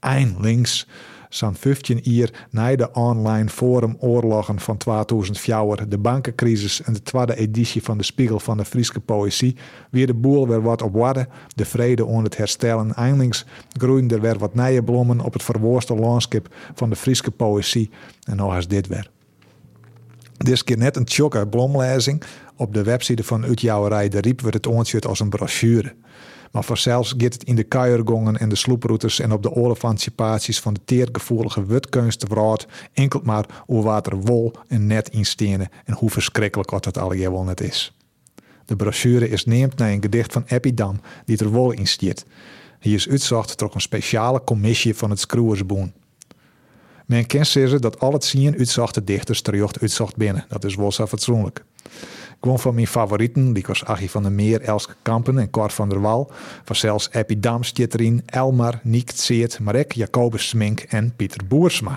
[SPEAKER 2] Eindlings, zo'n 15 jaar na de online forumoorlogen van 2004, de bankencrisis en de tweede editie van de Spiegel van de Friese Poëzie, weer de boel weer wat op waarde, de vrede onder het herstellen. Eindlings groeien er weer wat nieuwe bloemen op het verwoeste landschap van de Friese Poëzie. En nog eens dit weer. Dit is keer net een tjokke blomlezing. Op de website van Utjouwerij de Riep wordt het ontzettend als een brochure. Maar vanzelfs gaat het in de kuiergongen en de sloeproutes en op de olifanticipaties van de teergevoelige wutkunsten verraad enkel maar hoe water wol en net instenen en hoe verschrikkelijk wat dat allemaal wel net is. De brochure is neemt naar een gedicht van Epidam die er wol in stiert. Hier is uitzocht door een speciale commissie van het Scroersboen. Men kent zeggen dat al het zien uitzachte dichters terjocht uitzacht binnen. Dat is wel zo fatsoenlijk. Gewoon van mijn favorieten, die was Achie van der Meer, Elske Kampen en Cor van der Wal. Van zelfs Epi Dam, Stjitterin, Elmar, Niek Tseert, Marek, Jacobus Smink en Pieter Boersma.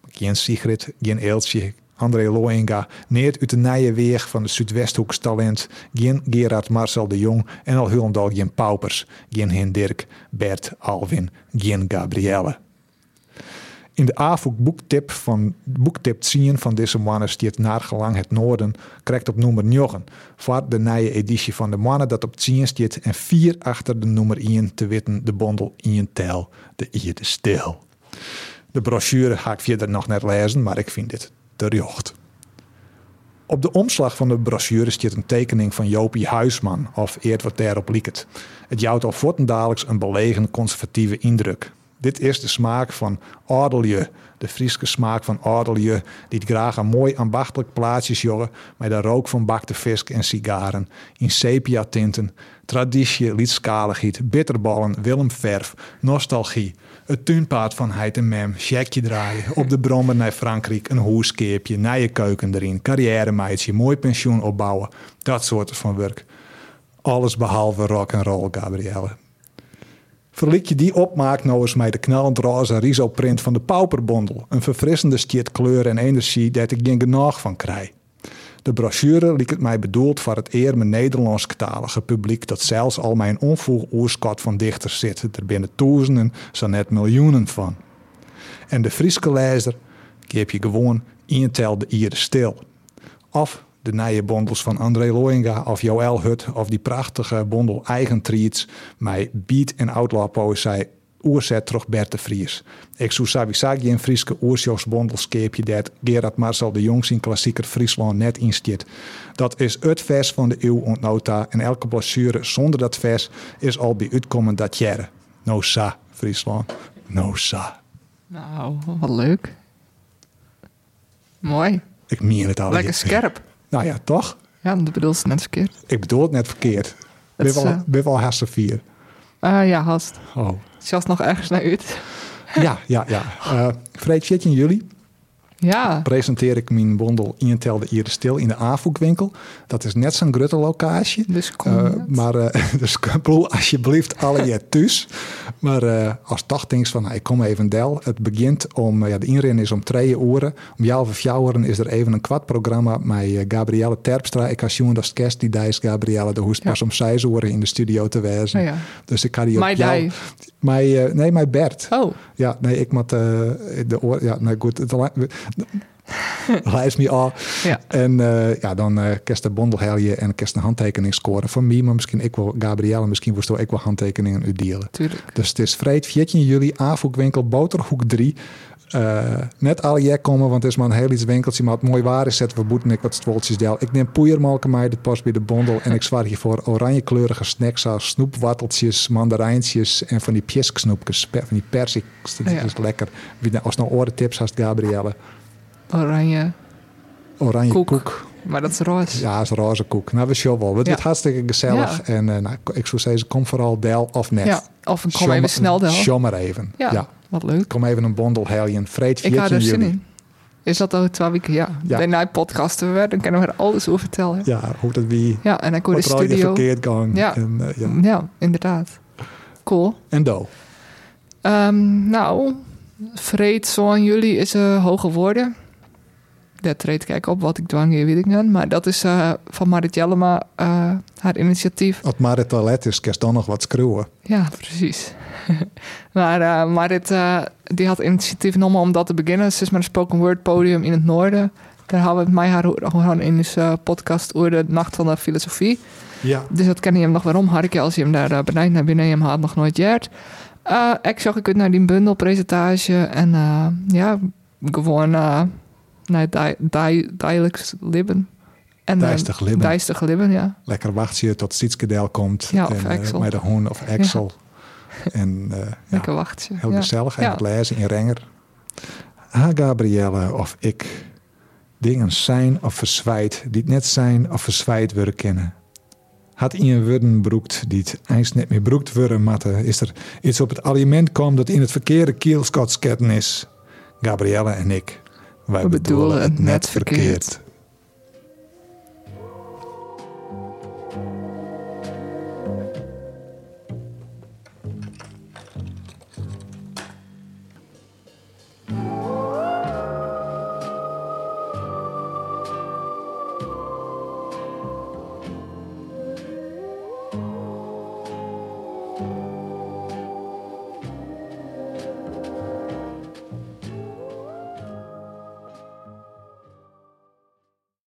[SPEAKER 2] Maar Geen Sigrid, geen Eeltje, André Loenga, neert uit de nije weeg van de Zuidwesthoeks talent, geen Gerard Marcel de Jong en al Hulendal geen Paupers, geen Hin Dirk, Bert, Alwin, geen Gabrielle. In de AFOEK boektip van boektip 10 van deze mannen stiert naar gelang het noorden krijgt op nummer 9 voor de nieuwe editie van de mannen dat op 10 stiert en vier achter de nummer 1 te witten de bondel 1 tel de ierde stil. De brochure ga ik verder nog net lezen, maar ik vind dit te rjocht. Op de omslag van de brochure zit een tekening van Jopie Huisman, of eert wat daarop lieket. Het jouwt al voortdurend een belegen conservatieve indruk. Dit is de smaak van adelje, de Friese smaak van adelje, die het graag een mooi ambachtelijk plaatsje jorgen met de rook van bakte visk en sigaren, in sepia-tinten, traditie, liedskaligheid, bitterballen, Willemverf, nostalgie, het tuinpaard van Heid en Mem, checkje draaien, op de brommer naar Frankrijk, een hoeskeepje, nije keuken erin, carrière meidje, mooi pensioen opbouwen, dat soort van werk. Alles behalve rock and roll, Gabrielle. Verliek je die opmaak nou eens met de knallend roze risoprint van de pauperbondel. Een verfrissende stiet kleur en energie dat ik geen genoeg van krijg. De brochure liet het mij bedoeld voor het eer mijn Nederlandsktalige publiek dat zelfs al mijn onvoeg oerschat van dichters zit. Er binnen duizenden, zo net miljoenen van. En de Friese lezer, keep je gewoon intel de Ieren stil. Of de nieuwe bondels van André Loinga of Joël Hut of die prachtige bondel Eigen Treats, mij beat en outlaw poëzij oerzet terug Bert de Vries. Ik zou Savisagi en Frieske Oersjos bondelskeepje dat Gerard Marcel de Jong zijn klassieker Friesland net instiet. Dat is het vers van de eeuw ontnota en elke blessure zonder dat vers is al bij uitkomen dat jaren. No sa, Friesland. No sa.
[SPEAKER 4] Nou, wat leuk. Mooi.
[SPEAKER 2] Ik meen het al.
[SPEAKER 4] Lekker scherp.
[SPEAKER 2] Nou ja, toch?
[SPEAKER 4] Ja, dat bedoel ze net verkeerd.
[SPEAKER 2] Ik bedoel het net verkeerd. Ik ben
[SPEAKER 4] is,
[SPEAKER 2] wel,
[SPEAKER 4] eh,
[SPEAKER 2] ben wel haast vier.
[SPEAKER 4] Ah ja, hast.
[SPEAKER 2] Oh.
[SPEAKER 4] Zelfs nog ergens naar uit.
[SPEAKER 2] Ja, ja, ja. Eh Vreed 14 juli
[SPEAKER 4] Ja.
[SPEAKER 2] presenteer ik mijn bondel Intel de Ieren Stil in de aanvoekwinkel. Dat is net zo'n grutte locatie.
[SPEAKER 4] Dus kom
[SPEAKER 2] Eh,
[SPEAKER 4] net.
[SPEAKER 2] maar eh, dus broer, alsjeblieft alle je thuis. Maar eh, als dagdings van, nou, ik kom even del. Het begint om, eh, ja, de inren is om twee uren. Om jou of jouweren is er even een kwartprogramma met eh, Gabrielle Terpstra. Ik had zien dat kerst die is Gabrielle de hoest
[SPEAKER 4] Ja.
[SPEAKER 2] pas om zes uur in de studio te wezen.
[SPEAKER 4] Oh ja.
[SPEAKER 2] Dus ik had die op
[SPEAKER 4] My
[SPEAKER 2] jou-
[SPEAKER 4] die.
[SPEAKER 2] Mijn, eh, nee, mijn Bert.
[SPEAKER 4] Oh,
[SPEAKER 2] Ja, nee, ik moet eh, de oor... Ja, nou goed. Het, li- lijst me al.
[SPEAKER 4] ja.
[SPEAKER 2] En eh, ja, dan eh kerst de bondel helje en kerst een handtekening scoren. Voor mij, maar misschien ik wel, Gabrielle, misschien moest ik wel handtekeningen uitdelen.
[SPEAKER 4] Tuurlijk.
[SPEAKER 2] Dus het is vrijdag 14 juli, aanvoekwinkel Boterhoek 3. Eh, net al jij komen, want het is maar een heel iets winkeltje. Maar het mooi waar is, zetten we boeten ik wat stwoltjes del. Ik neem poeiermalken mij, dat past bij de bondel. En ik zwaar hiervoor oranjekleurige snacks als snoepwatteltjes, mandarijntjes en van die pjesksnoepjes, pe- van die persik. Dat
[SPEAKER 4] Ja.
[SPEAKER 2] is lekker. Wie nou- Als nou oren tips had, Gabrielle.
[SPEAKER 4] Oranje.
[SPEAKER 2] Oranje
[SPEAKER 4] Koek.
[SPEAKER 2] koek.
[SPEAKER 4] Maar dat is roze.
[SPEAKER 2] Ja, is roze koek. Nou, we show wel. Het
[SPEAKER 4] Ja.
[SPEAKER 2] wordt hartstikke gezellig.
[SPEAKER 4] Ja.
[SPEAKER 2] En eh, nou, ik zou zeggen, kom vooral del of net.
[SPEAKER 4] Ja, Of een kom
[SPEAKER 2] Show maar-
[SPEAKER 4] even snel dan.
[SPEAKER 2] Show maar even.
[SPEAKER 4] Ja.
[SPEAKER 2] Ja.
[SPEAKER 4] Wat leuk.
[SPEAKER 2] Kom even een bondel helien. Vreed
[SPEAKER 4] Ik had
[SPEAKER 2] 14
[SPEAKER 4] er zin
[SPEAKER 2] juli.
[SPEAKER 4] in. Is dat al twee weken? Ja.
[SPEAKER 2] Ja.
[SPEAKER 4] Daarna podcasten we, dan kunnen we er alles over vertellen. Ja,
[SPEAKER 2] Ja, hoe dat wie...
[SPEAKER 4] en dan kon de
[SPEAKER 2] Wat er je
[SPEAKER 4] studio.
[SPEAKER 2] verkeerd gang.
[SPEAKER 4] Ja.
[SPEAKER 2] En, eh, ja.
[SPEAKER 4] Ja, inderdaad. Cool.
[SPEAKER 2] en do.
[SPEAKER 4] Ehm, nou, vreed zo'n jullie is eh hoge woorden. Daar treedt kijk op wat ik dwang hier weet ik niet. Maar dat is eh, van Marit Jellema, eh, haar initiatief.
[SPEAKER 2] Als maar het toilet is, kerst dan nog wat screwen.
[SPEAKER 4] Ja, precies. maar eh, Marit eh, die had initiatief genomen om dat te beginnen. Ze is met een spoken word podium in het noorden. Daar hadden we het mij haar gewoon in deze eh, podcast over de Nacht van de Filosofie.
[SPEAKER 2] Ja.
[SPEAKER 4] Dus dat ken je hem nog waarom. Harke, als je hem daar eh, benijdt naar binnen, je hem had nog nooit jaard. Eh, ik zag ik het naar die bundelpresentage en eh, ja, gewoon eh naar die, die, dagelijks Libben. En, eh,
[SPEAKER 2] Dijstig Libben.
[SPEAKER 4] Dijstig Libben, ja.
[SPEAKER 2] Lekker wacht je tot Sietskedel komt.
[SPEAKER 4] Ja,
[SPEAKER 2] en,
[SPEAKER 4] of
[SPEAKER 2] eh,
[SPEAKER 4] Axel.
[SPEAKER 2] Met de hoen of Axel. En eh, ja,
[SPEAKER 4] Lekker wachtje.
[SPEAKER 2] heel
[SPEAKER 4] ja.
[SPEAKER 2] gezellig. En
[SPEAKER 4] Ja.
[SPEAKER 2] het lezen in Renger. Ha, Gabrielle, of ik. Dingen zijn of verzwijt, die het net zijn of verzwijt worden kennen. Had een worden broekt die het ijs net meer broekt worden matte, is er iets op het aliment kwam dat in het verkeerde kielskotsketten is. Gabrielle en ik, wij
[SPEAKER 4] We
[SPEAKER 2] bedoelen het net verkeerd.